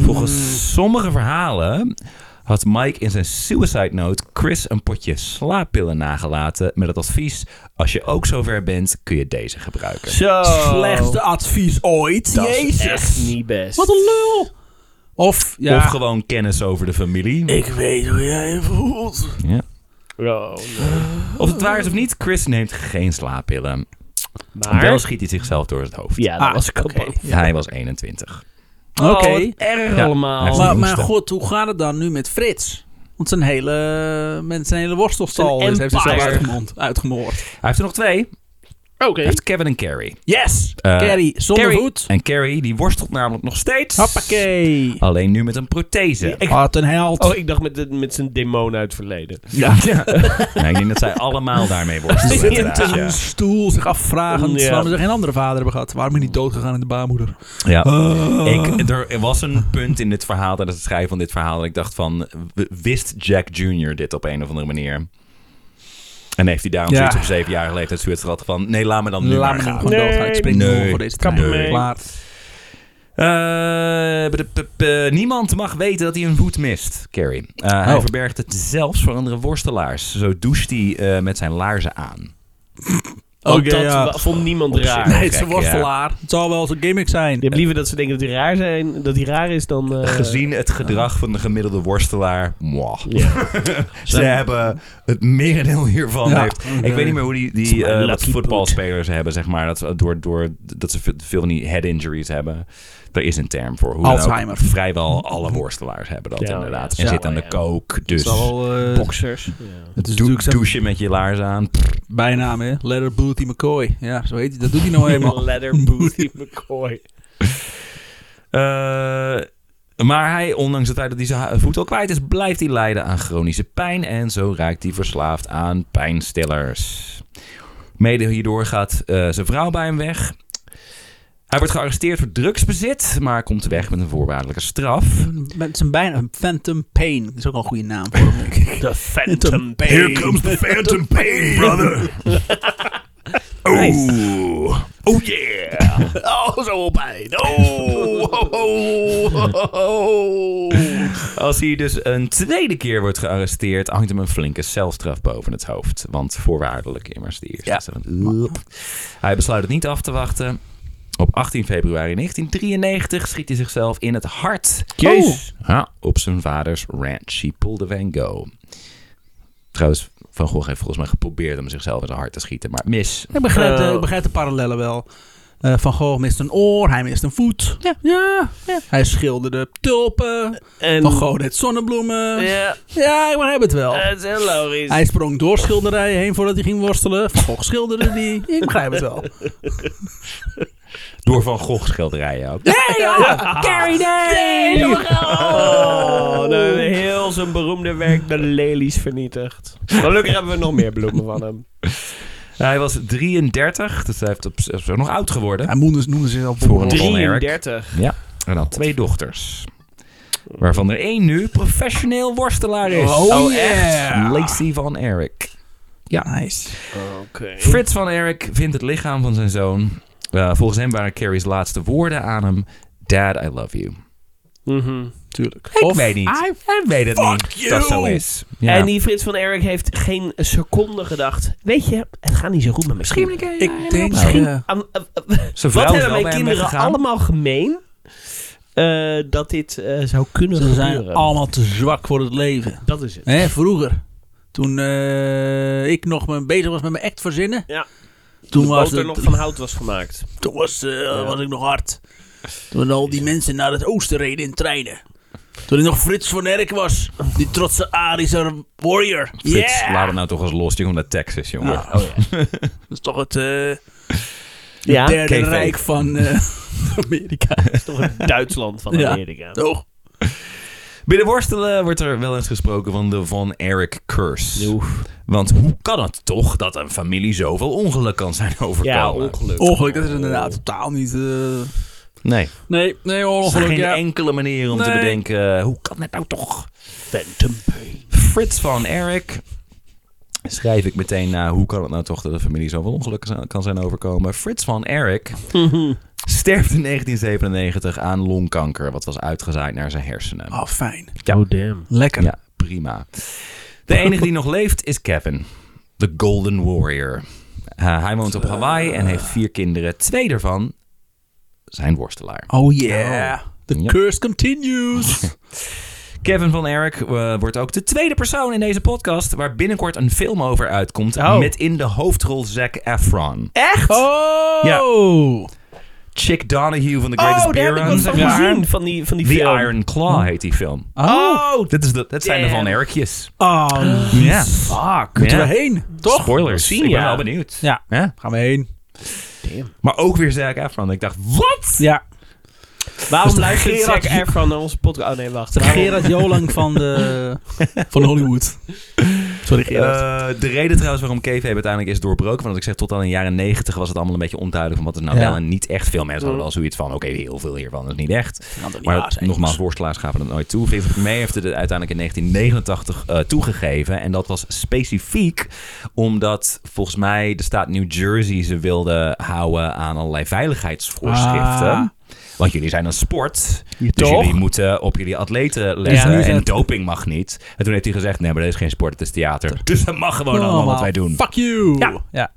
S2: Volgens sommige verhalen had Mike in zijn suicide note Chris een potje slaappillen nagelaten met het advies: als je ook zover bent, kun je deze gebruiken.
S3: Zo.
S1: Slechtste advies ooit.
S3: Oh. Dat is echt
S1: Jezus.
S3: niet best.
S1: Wat een lul. Of, ja.
S2: Of gewoon kennis over de familie.
S1: ik weet hoe jij je voelt.
S2: Ja.
S3: Oh, nee.
S2: Of het waar is of niet, Chris neemt geen slaappillen.
S3: Maar...
S2: Wel schiet hij zichzelf door het hoofd.
S3: Ja, dat was ik ook
S1: Ah, oké.
S3: bang.
S2: Hij was 21.
S1: Oké.
S3: Oh, wat erg
S2: Ja, hij
S3: allemaal.
S2: heeft
S1: Maar,
S2: jongste.
S1: maar god, hoe gaat het dan nu met Frits? Want zijn hele, met zijn hele worstelstal
S3: Zijn
S1: is, heeft hij zelf
S3: empire.
S1: uitgemond, uitgemoord.
S2: Hij heeft er nog twee. Hij
S3: Oké.
S2: heeft Kevin en Carrie.
S1: Yes!
S2: Eh,
S1: Carrie, zonder
S2: Carrie
S1: voet.
S2: En Carrie, die worstelt namelijk nog steeds.
S1: Hoppakee.
S2: Alleen nu met een prothese.
S3: Ik-
S1: Wat een held.
S3: Oh, ik dacht met, de- met zijn demon uit het verleden.
S2: Ja. Nee, ik denk dat zij allemaal daarmee
S1: Hij
S2: worstelen.
S1: zit
S2: inderdaad,
S1: in een stoel zich afvragend
S3: Ja.
S1: waarom ze geen andere vader hebben gehad. Waarom is niet doodgegaan in de baarmoeder?
S2: Ja.
S1: Ah.
S2: Ik, er was een punt in dit verhaal, tijdens het schrijven van dit verhaal, dat ik dacht van, w- wist Jack Jr. dit op een of andere manier? En heeft hij daarom
S1: Ja.
S2: zoiets op zevenjarige leeftijd zoiets gehad van, nee, laat me dan nu
S1: Laat
S2: maar
S1: me hem
S2: gaan.
S1: gewoon
S3: Nee,
S1: doodgaan. Ik spring
S2: nee,
S1: nul voor deze
S2: kap
S1: tijd.
S3: ermee.
S1: Klaar.
S2: Eh, p- p- p- niemand mag weten dat hij een voet mist, Carrie. Eh, Hij
S1: Oh.
S2: verbergt het zelfs voor andere worstelaars. Zo doucht hij eh, met zijn laarzen aan.
S3: Want
S1: Oké,
S3: dat
S1: ja.
S3: wa- vond niemand
S2: Op zich.
S3: raar.
S1: Nee, het is een
S2: Gek,
S1: worstelaar. Het zal wel zijn gimmick zijn.
S3: Je hebt liever dat ze denken dat hij raar, zijn, dat hij raar is dan... eh,
S2: Gezien het gedrag van de gemiddelde worstelaar, mwah.
S3: Ja.
S2: Ze hebben het merendeel hiervan.
S1: Ja.
S2: Heeft, ik weet niet meer hoe die, die
S3: Mijn
S2: eh, wat
S3: lucky
S2: voetbalspelers hebben, zeg maar. Dat ze, door, door, dat ze veel van die head injuries hebben. Er is een term voor. Hoe dan ook.
S1: Alzheimer.
S2: Vrijwel alle worstelaars hebben dat
S3: Ja,
S2: inderdaad.
S3: ja.
S2: En
S1: Ja,
S2: zit aan de
S3: ja.
S2: kook. Dus
S1: Het zal wel, eh,
S3: Boxers.
S1: het is
S2: doe-
S1: natuurlijk zijn
S2: douchen met je laars aan.
S1: bijnaam, hè? Leather Booty McCoy. Ja, zo heet hij. Dat doet hij nou eenmaal.
S3: Leather Booty McCoy.
S2: Eh, maar hij, ondanks het feit dat hij zijn ha- voet al kwijt is, blijft hij lijden aan chronische pijn. En zo raakt hij verslaafd aan pijnstillers. Mede hierdoor gaat eh, zijn vrouw bij hem weg. Hij wordt gearresteerd voor drugsbezit, maar komt weg met een voorwaardelijke straf.
S1: Met zijn bijnaam Phantom Pain. Dat is ook wel een goede naam voor hem, denk ik.
S3: The
S1: Phantom
S3: Phantom
S1: Pain. Here Oh.
S4: the phantom pain, brother.
S2: Nice.
S4: Oeh.
S2: Oh yeah!
S3: Oh, zo op eind. Oh, oh, oh, oh, oh.
S2: Als hij dus een tweede keer wordt gearresteerd, hangt hem een flinke celstraf boven het hoofd. Want voorwaardelijk immers de eerste.
S1: Ja.
S2: Dus dan- Hij besluit het niet af te wachten. Op 18 februari 1993 schiet hij zichzelf in het hart. Oh.
S3: Jezus.
S2: Ja, op zijn vaders ranch. He pulled the Van Gogh. Trouwens, Van Gogh heeft volgens mij geprobeerd om zichzelf in zijn hart te schieten. Maar mis.
S1: Ik begrijp, de,
S3: Eh.
S1: ik begrijp de parallellen wel. Eh, van Gogh mist een oor, hij mist een voet. Ja. ja, Hij schilderde tulpen.
S3: En,
S1: Van Gogh deed zonnebloemen. Ja,
S3: Ja,
S1: ik begrijp het wel.
S3: het is heel logisch.
S1: hij sprong door schilderijen heen voordat hij ging worstelen. Van Gogh schilderde die. Ik begrijp het wel.
S2: Door Van Gogh schilderijen ook.
S1: Carrie Day!
S3: Oh, dan hebben we heel zijn beroemde werk de lelies vernietigd. Gelukkig hebben we nog meer bloemen van hem.
S2: Hij was 33, dus hij heeft op, is ook nog oud geworden.
S1: Hij noemde, noemde zichzelf
S2: Voor een- Ron Eric.
S3: 33.
S2: Ja, en had twee dochters. Waarvan er één nu professioneel worstelaar is.
S1: Oh, yeah.
S2: Lacey van Eric.
S1: Nice.
S3: Oké.
S2: Frits van Eric vindt het lichaam van zijn zoon. Eh, volgens hem waren Carrie's laatste woorden aan hem. Dad, I love you.
S3: Mhm.
S1: Tuurlijk.
S2: Ik
S1: Of-
S2: weet niet.
S1: I-
S2: Hij weet het
S1: Fuck
S2: niet.
S1: you.
S2: Dat zo is. Ja.
S3: En die Frits van Erik heeft geen seconde gedacht. Weet je, het gaat niet zo goed met mijn kinderen.
S1: Ik denk... eh,
S3: Am- am- am-
S2: nou, Zijn vrouw
S3: Wat
S2: is wel
S3: hebben
S2: bij
S3: mijn
S2: hem
S3: kinderen
S2: weggegaan.
S3: allemaal gemeen? eh, dat dit eh, zou kunnen
S1: Ze
S3: gebeuren.
S1: zijn allemaal te zwak voor het leven.
S3: Dat is het.
S1: Hè, vroeger. Toen eh, ik nog me- bezig was met mijn act verzinnen.
S3: Ja.
S1: Toen was,
S3: er
S1: het,
S3: nog van hout was gemaakt.
S1: toen was, eh, was ik nog hard. Toen al die mensen naar het oosten reden in treinen. Toen ik nog Frits van Erk was. Die trotse Arische warrior.
S2: Frits,
S1: yeah!
S2: laat het nou toch eens los. Je komt naar Texas, jongen.
S1: Ja. Oh, ja. Dat is toch het eh,
S3: Ja,
S1: derde
S2: KV.
S1: rijk van eh, Amerika.
S3: is toch het Duitsland van
S1: Ja. Oh,
S3: Amerika.
S1: Toch?
S2: Binnen worstelen wordt er wel eens gesproken van de Van Eric curse. Want hoe kan het toch dat een familie zoveel ongeluk kan zijn overkomen?
S3: Ja, ongeluk.
S1: Ongeluk, dat is inderdaad totaal niet... eh,
S2: Nee.
S1: Nee, nee,
S2: Er is geen
S1: ongeluk, ja.
S2: enkele manier om te
S1: Nee.
S2: bedenken, eh, hoe kan dit nou toch?
S3: Phantom Pain.
S2: Frits van Eric schrijf ik meteen na, hoe kan het nou toch dat een familie zoveel ongelukken zou- kan zijn overkomen? Frits van Eric sterft in 1997 aan longkanker, wat was uitgezaaid naar zijn hersenen.
S1: Oh, fijn.
S3: Oh, damn.
S1: Lekker.
S2: Ja, prima. De enige die nog leeft is Kevin, de Golden Warrior. Uh, hij woont op Hawaii en heeft vier kinderen. Twee daarvan zijn worstelaar.
S1: Oh yeah. The
S2: Ja.
S1: curse continues.
S2: Kevin van Eric eh, wordt ook de tweede persoon in deze podcast waar binnenkort een film over uitkomt
S3: Oh. Eh?
S2: met in de hoofdrol Zac Efron.
S3: Echt?
S1: Oh!
S2: Ja. Chick Donahue van The Greatest
S3: Oh, daar heb
S2: Beer
S3: ik wat
S2: Run,
S3: van
S2: zeg maar.
S3: gezien, van die, van die
S2: The
S3: film. Hm.
S2: Iron Claw heet die film.
S3: Oh,
S2: Dit, is de, dit zijn de
S3: Damn.
S2: Van Ericjes.
S1: Oh,
S2: Ja.
S3: fuck.
S1: Moeten
S2: Ja.
S1: we heen, toch?
S2: Spoilers.
S3: Zien,
S2: Ik ben
S3: ja.
S2: wel benieuwd.
S1: Ja.
S2: Ja.
S1: Gaan we heen.
S2: Maar ook weer Zac Efron. Ik dacht, wat?
S1: Ja.
S3: Waarom
S1: de
S3: luistert Zac
S1: Gerard-
S3: Efron naar onze podcast? Oh nee, wacht.
S1: De
S3: Waarom-
S1: Gerard Jolang van, de, van Hollywood. Sorry, Gerard.
S2: Eh, de reden trouwens waarom KV uiteindelijk is doorbroken, want ik zeg tot aan de jaren 90 was het allemaal een beetje onduidelijk van wat is nou
S1: Ja.
S2: wel en niet echt. Veel mensen hadden
S3: Mm.
S2: wel zoiets van, oké, heel veel hiervan is niet echt.
S1: Kan toch niet
S2: Maar
S1: waar zijn, jongens?
S2: nogmaals, worstelaars gaven het nooit toe. Vincent May heeft het uiteindelijk in 1989 eh, toegegeven. En dat was specifiek omdat volgens mij de staat New Jersey ze wilde houden aan allerlei veiligheidsvoorschriften.
S1: Ah.
S2: Want jullie zijn een sport. Dus
S1: toch?
S2: jullie moeten op jullie atleten letten.
S1: Ja.
S2: en doping mag niet. En toen heeft hij gezegd, nee, maar dat is geen sport, het is theater. Dus dat mag gewoon allemaal wat wij doen.
S1: Oh, Fuck you.
S2: Ja.
S1: ja.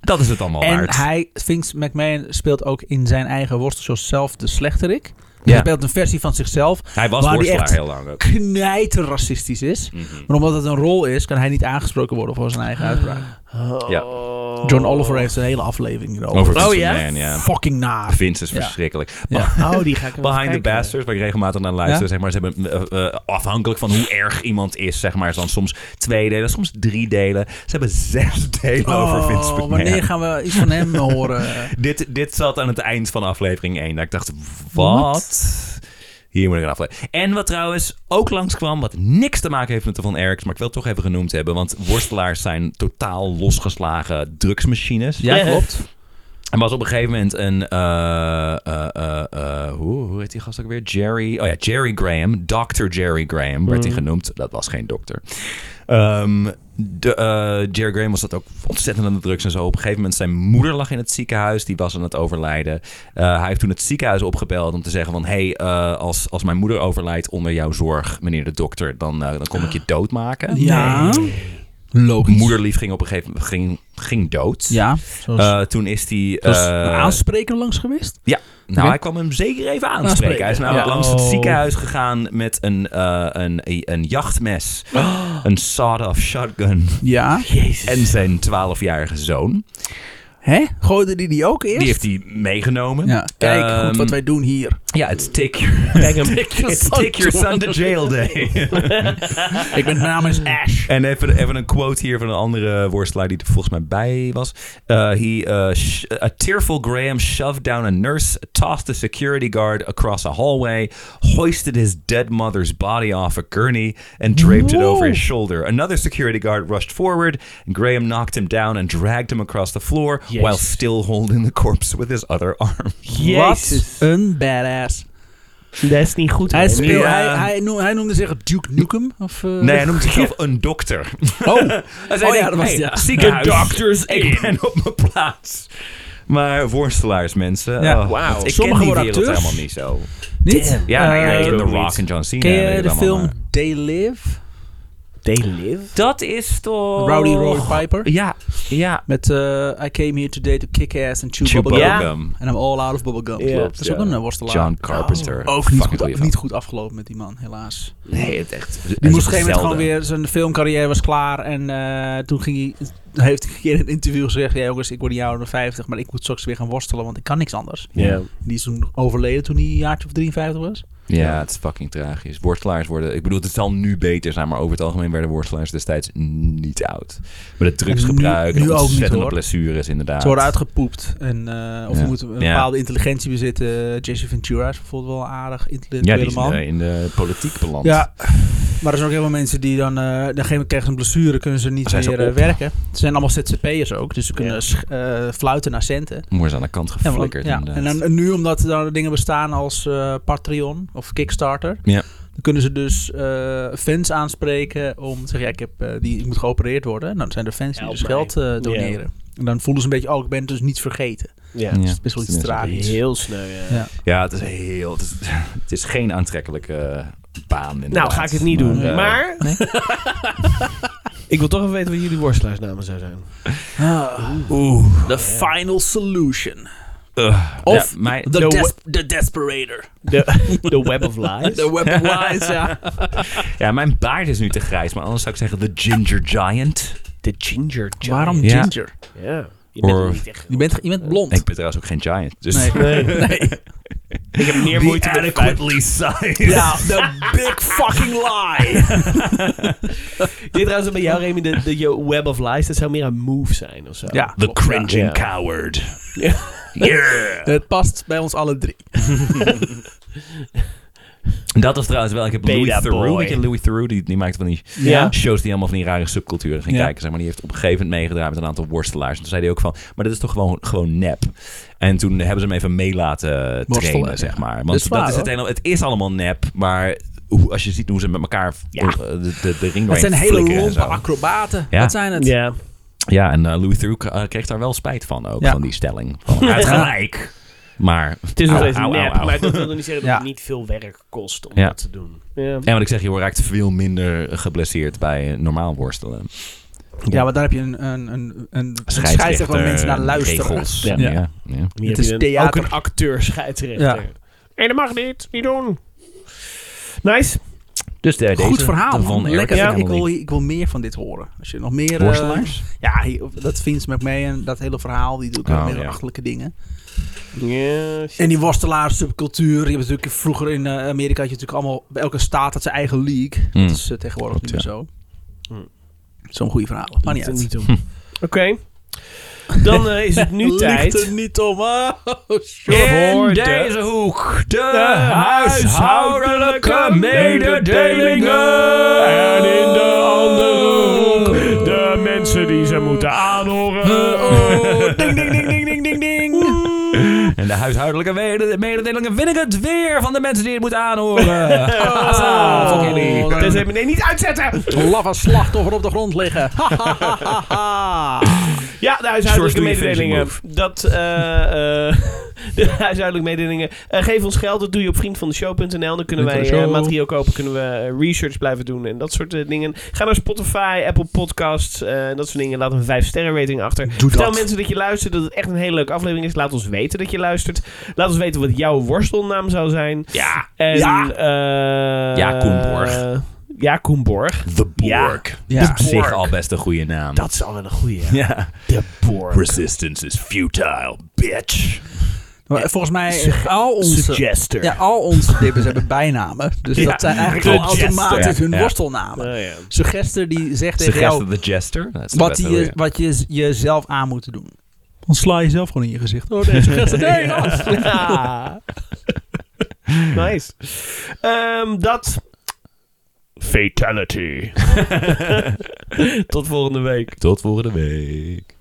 S2: Dat is het allemaal
S1: En
S2: waard.
S1: hij, Vince McMahon, speelt ook in zijn eigen worstelshow zelf de slechterik. Dus
S2: Ja.
S1: Hij speelt een versie van zichzelf
S2: Hij was
S1: waar die
S2: worstelaar
S1: echt-
S2: heel lang ook. Mhm.
S1: knijterracistisch is. Maar omdat het een rol is, kan hij niet aangesproken worden voor zijn eigen uitspraak.
S2: Ja.
S3: Oh.
S1: John Oliver heeft een hele aflevering erover.
S2: Over Vince
S3: ja?
S2: McMahon, ja.
S1: Fucking naar.
S2: Vince is
S1: Oh, Ja.
S2: verschrikkelijk.
S1: Ja.
S2: Maar-
S3: Oh, die ga ik even
S2: Behind the
S3: kijken.
S2: Bastards, waar ik regelmatig naar luister.
S1: Ja?
S2: Zeg maar, ze hebben, eh, eh, afhankelijk van hoe erg iemand is, zeg maar, is dan soms twee delen, soms drie delen. Ze hebben zes delen over Vince McMahon.
S1: Oh, wanneer gaan we iets van hem horen?
S2: Dit, dit zat aan het eind van aflevering 1. Dat ik dacht, wat?
S1: Wat?
S2: Hier moet ik een aflevering. En wat trouwens ook langskwam, wat niks te maken heeft met de Van Eriks, maar ik wil het toch even genoemd hebben, want worstelaars zijn totaal losgeslagen drugsmachines.
S1: Ja, klopt.
S2: Er was op een gegeven moment een. eh, eh, eh, eh, hoe, hoe heet die gast ook weer? Jerry. Oh ja, Jerry Graham. Dr. Jerry Graham werd
S1: Mhm.
S2: hij genoemd. Dat was geen dokter. Ehm, de, eh, Jerry Graham was dat ook ontzettend aan de drugs en zo. Op een gegeven moment zijn moeder lag in het ziekenhuis. Die was aan het overlijden. Eh, hij heeft toen het ziekenhuis opgebeld om te zeggen van... hey, eh, als, als mijn moeder overlijdt onder jouw zorg, meneer de dokter... dan, eh, dan kom ik je doodmaken.
S1: Ja. Logisch.
S2: Moederlief ging op een gegeven moment ging, ging dood.
S1: Ja. Zoals,
S2: Eh, toen is hij...
S1: zoals
S2: eh,
S1: een aanspreker langs geweest.
S2: ja, nou,
S1: nou, Oké.
S2: hij kwam hem zeker even aanspreken.
S1: Aanspreken,
S2: Hij is namelijk
S1: ja.
S2: langs het
S3: Oh.
S2: ziekenhuis gegaan met een, eh, een, een jachtmes, een sawed-off shotgun
S1: Ja. Oh. Jezus.
S2: en zijn 12-jarige zoon.
S1: Hè? Gooide die die ook eerst?
S2: Die heeft hij meegenomen.
S1: Ja. Kijk,
S2: Ehm,
S1: goed wat wij doen hier.
S2: Ja, it's take your,
S3: Kijk hem.
S2: take your,
S1: son
S2: take your
S1: to-
S2: son to jail day.
S1: Ik ben mijn naam is Ash.
S2: en even, even een quote hier van een andere worstelaar die er volgens mij bij was. Uh, he, uh, sh- a tearful Graham shoved down a nurse, tossed a security guard across a hallway, hoisted his dead mother's body off a gurney, and draped it over his shoulder. Another security guard rushed forward, and Graham knocked him down and dragged him across the floor while
S3: Jezus.
S2: still holding the corpse with his other arm.
S3: Jezus.
S1: Wat een badass.
S3: Dat is niet goed.
S1: Hij,
S3: hoor.
S1: speel,
S2: Ja.
S1: hij, hij, noemde, hij noemde zich Duke Nukem? Of, eh,
S2: eh, Nee, hij noemt zichzelf een dokter.
S1: Oh,
S2: Als
S1: Oh ja, dat was het, ja.
S2: Ziekenhuis.
S1: De
S2: doctors Ik ben op mijn plaats. Maar worstelaars, mensen.
S1: Ja.
S2: Oh,
S3: Wauw.
S2: Ik
S1: Sommigen
S2: ken die
S1: worden
S2: wereld
S1: acteurs.
S2: helemaal niet zo.
S1: niet?
S2: Ja, nou ja,
S1: Eh,
S2: ik ken
S3: ik
S2: The
S3: ook
S2: Rock
S3: niet.
S2: en John Cena.
S1: Ken
S2: en weet
S1: je
S2: ik
S1: de
S2: allemaal,
S1: film
S2: maar-
S1: They Live?
S3: They live.
S2: Dat is toch...
S1: Rowdy Roy
S2: Oh.
S1: Piper?
S2: eh, Ja, ja.
S1: Met eh, I came here today to kick ass and chew,
S2: Chew
S1: bubblegum.
S2: bubblegum.
S1: And I'm all out of bubblegum.
S3: Ja.
S1: Klopt, dat is ook een eh, worstelaar.
S2: John Carpenter.
S1: Oh, Ook niet
S2: Fucking
S1: goed,
S2: goeie
S1: niet
S2: film.
S1: goed afgelopen met die man, helaas.
S2: Nee, het echt...
S1: Die moest op een gegeven moment gewoon weer... Zijn filmcarrière was klaar. En eh, toen ging hij, toen heeft hij een keer in een interview gezegd... Ja jongens, ik word niet ouder dan 50, maar ik moet straks weer gaan worstelen... want ik kan niks anders.
S3: Ja.
S1: Die is toen overleden toen hij een jaartje of 53 was.
S2: Ja, het is fucking tragisch. Worstelaars worden... Ik bedoel, het zal nu beter zijn, maar over het algemeen werden worstelaars destijds niet oud. Met het drugsgebruik
S1: Nu- nu
S2: en
S1: ook niet,
S2: ontzettende
S1: hoor.
S2: blessures inderdaad.
S1: Ze worden uitgepoept. En, eh, of
S2: Ja.
S1: je moet een
S2: Ja.
S1: bepaalde intelligentie bezitten. Jesse Ventura is bijvoorbeeld wel een aardig
S2: Ja,
S1: intellectuele
S2: die is eh, in
S1: man.
S2: de, in de politiek beland.
S1: Ja, maar er zijn ook heel veel mensen die dan... eh op een gegeven moment krijgen ze een blessure, kunnen ze niet
S2: Zijn ze
S1: meer eh,
S2: op?
S1: werken. Ze zijn allemaal zzp'ers ook, dus ze kunnen
S3: Ja.
S1: sch- eh, fluiten naar centen.
S2: Moers aan de kant
S1: En, want-
S2: geflikkerd.
S1: ja.
S2: inderdaad.
S1: en dan, nu omdat er dan dingen bestaan als eh, Patreon of Kickstarter...
S2: Ja.
S1: dan kunnen ze dus eh, fans aanspreken om te zeggen... Ja, ik, heb, eh, die, ik moet geopereerd worden. Nou, dan zijn er fans die
S3: Help
S1: dus
S3: mij.
S1: geld eh, doneren. En dan voelen ze een beetje... oh, ik ben het dus niet vergeten.
S3: Ja.
S2: Ja.
S1: Dat is best wel iets
S2: Tenminste,
S1: tragisch.
S3: Heel sneu. eh.
S1: Ja.
S2: Ja, het is heel. Het is, het is geen aantrekkelijke eh, baan. Inderdaad.
S3: Nou, ga ik het niet doen.
S2: eh,
S3: Maar... ik wil toch even weten wat jullie worstenaarsnamen zou zijn.
S1: Ah. Oeh. The final solution.
S2: eh,
S1: Of
S2: ja, mijn,
S1: The,
S3: The
S1: des- the desperator.
S3: The, the Web of Lies.
S1: The weapon wise, ja.
S2: ja, mijn baard is nu te grijs, maar anders zou ik zeggen de Ginger Giant.
S3: The Ginger Giant.
S1: Waarom
S2: Ja.
S1: ginger?
S3: Ja. Je bent
S2: Or-
S3: ook niet echt...
S1: Je bent, je bent blond.
S2: Ik ben trouwens ook geen giant. Dus
S1: nee. nee.
S3: Ik heb meer moeite met het feit-
S2: sized.
S1: Ja, the big fucking lie.
S3: Dit trouwens bij jou, Remy, de, de yo- Web of Lies, dat zou meer een move zijn of zo.
S1: Ja,
S2: The cringing
S3: Ja.
S2: coward.
S3: Ja.
S2: Yeah.
S1: het past bij ons alle drie.
S2: Dat was trouwens wel. Ik heb Louis
S3: Beta
S2: Theroux.
S3: boy.
S2: Weet je, Louis Theroux die, die maakte van die
S3: Ja.
S2: shows die allemaal van die rare subculturen ging
S1: Ja.
S2: kijken. Zeg maar. Die heeft op een gegeven moment meegedaan met een aantal worstelaars. En toen zei hij ook van, maar dat is toch gewoon, gewoon nep. En toen hebben ze hem even mee laten trainen,
S1: ja.
S2: zeg maar.
S1: Dat
S2: Want
S1: is waar,
S2: dat is het,
S1: hoor.
S2: hele- het is allemaal nep, maar hoe, als je ziet hoe ze met elkaar eh, de, de, de ring
S1: Het zijn hele
S2: doorheen flikkeren en
S1: lompe
S2: zo.
S1: acrobaten.
S2: Ja.
S1: Dat zijn het.
S3: Ja.
S2: Ja, en eh, Louis Theroux eh, kreeg daar wel spijt van ook,
S1: Ja.
S2: van die stelling. Van, hij had gelijk, maar...
S3: Het is nog
S2: au,
S3: steeds
S2: au, au,
S3: nep,
S2: au.
S3: maar dat wil nog niet zeggen dat
S1: Ja.
S3: het niet veel werk kost om
S2: Ja.
S3: dat te doen. Ja.
S2: En wat ik zeg, je raakt veel minder geblesseerd bij eh, normaal worstelen.
S1: Ja, maar daar heb je een, een, een, een scheidsrechter
S2: Scheidsrechter,
S1: waar mensen naar luisteren.
S2: regels.
S3: Ja.
S2: Ja. ja.
S3: Hier
S1: Het
S3: heb
S1: is
S3: je een-
S1: theater.
S3: Ook een acteur scheidsrechter.
S1: Ja.
S3: En dat mag niet, niet doen. Nice.
S2: Dus de, deze,
S1: Goed verhaal.
S2: de Von
S1: man. Lekker.
S2: Erich
S1: ik,
S2: family.
S1: wil, ik wil meer van dit horen. Als je nog meer... eh,
S2: Worstelaars?
S1: ja, hier- dat Vince McMahon, en dat hele verhaal. Die doet ook
S2: Oh,
S1: meer
S2: ja.
S1: achterlijke dingen.
S3: Ja,
S1: En die worstelaar subcultuur. Je hebt natuurlijk vroeger in eh, Amerika had je natuurlijk allemaal bij elke staat had zijn eigen league.
S2: Hmm.
S1: Dat is eh, tegenwoordig
S2: Klopt,
S1: niet
S2: ja.
S1: meer zo.
S3: Hmm.
S1: Zo'n goede verhalen. Maar niet
S3: Niet,
S1: uit.
S3: niet doen. Oké. Dan eh, is het nu
S1: Ligt
S3: tijd.
S1: er niet om. ah, shit.
S3: In
S2: In
S3: deze
S2: deze hoek de
S3: huishoudelijke
S2: huishoudelijke
S3: mededelingen.
S2: mededelingen.
S3: En in de andere hoek de mensen die ze moeten aanhoren.
S1: Oh, ding, ding, ding, ding, ding, ding, ding.
S2: huishoudelijke mede- mededelingen vind ik het weer van de mensen die het moeten aanhoren. Haha,
S3: Ah,
S2: fuck jullie.
S1: Oh,
S3: Tenzij meneer niet uitzetten.
S1: Lava slachtoffer op de grond liggen.
S3: Ja, de
S2: George,
S3: huishoudelijke
S2: doe je finishing
S3: mededelingen. Dat, eh eh, de huishoudelijke mededelingen. Eh, geef ons geld, dat doe je op vriendvandeshow.nl. Dan kunnen wij
S1: Vriend van de
S3: eh,
S1: show.
S3: materiaal kopen, kunnen we eh, research blijven doen en dat soort eh, dingen. Ga naar Spotify, Apple Podcasts, eh, en dat soort dingen. Laat een 5 sterren rating achter.
S1: Doe
S3: Vertel
S1: dat.
S3: mensen dat je luistert, dat het echt een hele leuke aflevering is. Laat ons weten dat je luistert. Laat ons weten wat jouw worstelnaam zou zijn.
S2: Ja,
S3: En,
S1: Ja.
S3: eh,
S2: Ja, Koenborg.
S3: Ja, Koenborg.
S2: The Borg.
S1: Ja.
S2: Op zich al best een goede naam.
S3: Dat is al wel een goeie.
S2: ja.
S3: De Borg.
S2: Resistance is futile, bitch.
S1: Maar volgens mij al onze,
S3: Suggester.
S1: ja, al onze dippers hebben bijnamen. Dus
S3: Ja.
S1: dat zijn eigenlijk al
S3: Suggester.
S1: automatisch hun
S2: Ja.
S1: worstelnamen.
S3: Nou ja.
S1: Suggester die zegt tegen jou
S2: Suggested the Jester. Dat is de
S1: wat,
S2: beste
S1: die
S2: goeie.
S1: je, wat je jezelf aan moet doen. Dan sla je zelf gewoon in je gezicht. Oh nee, suggester. Nee, gast.
S3: Ja. nice. Ehm, dat. Fatality. Tot volgende week.
S2: Tot volgende week.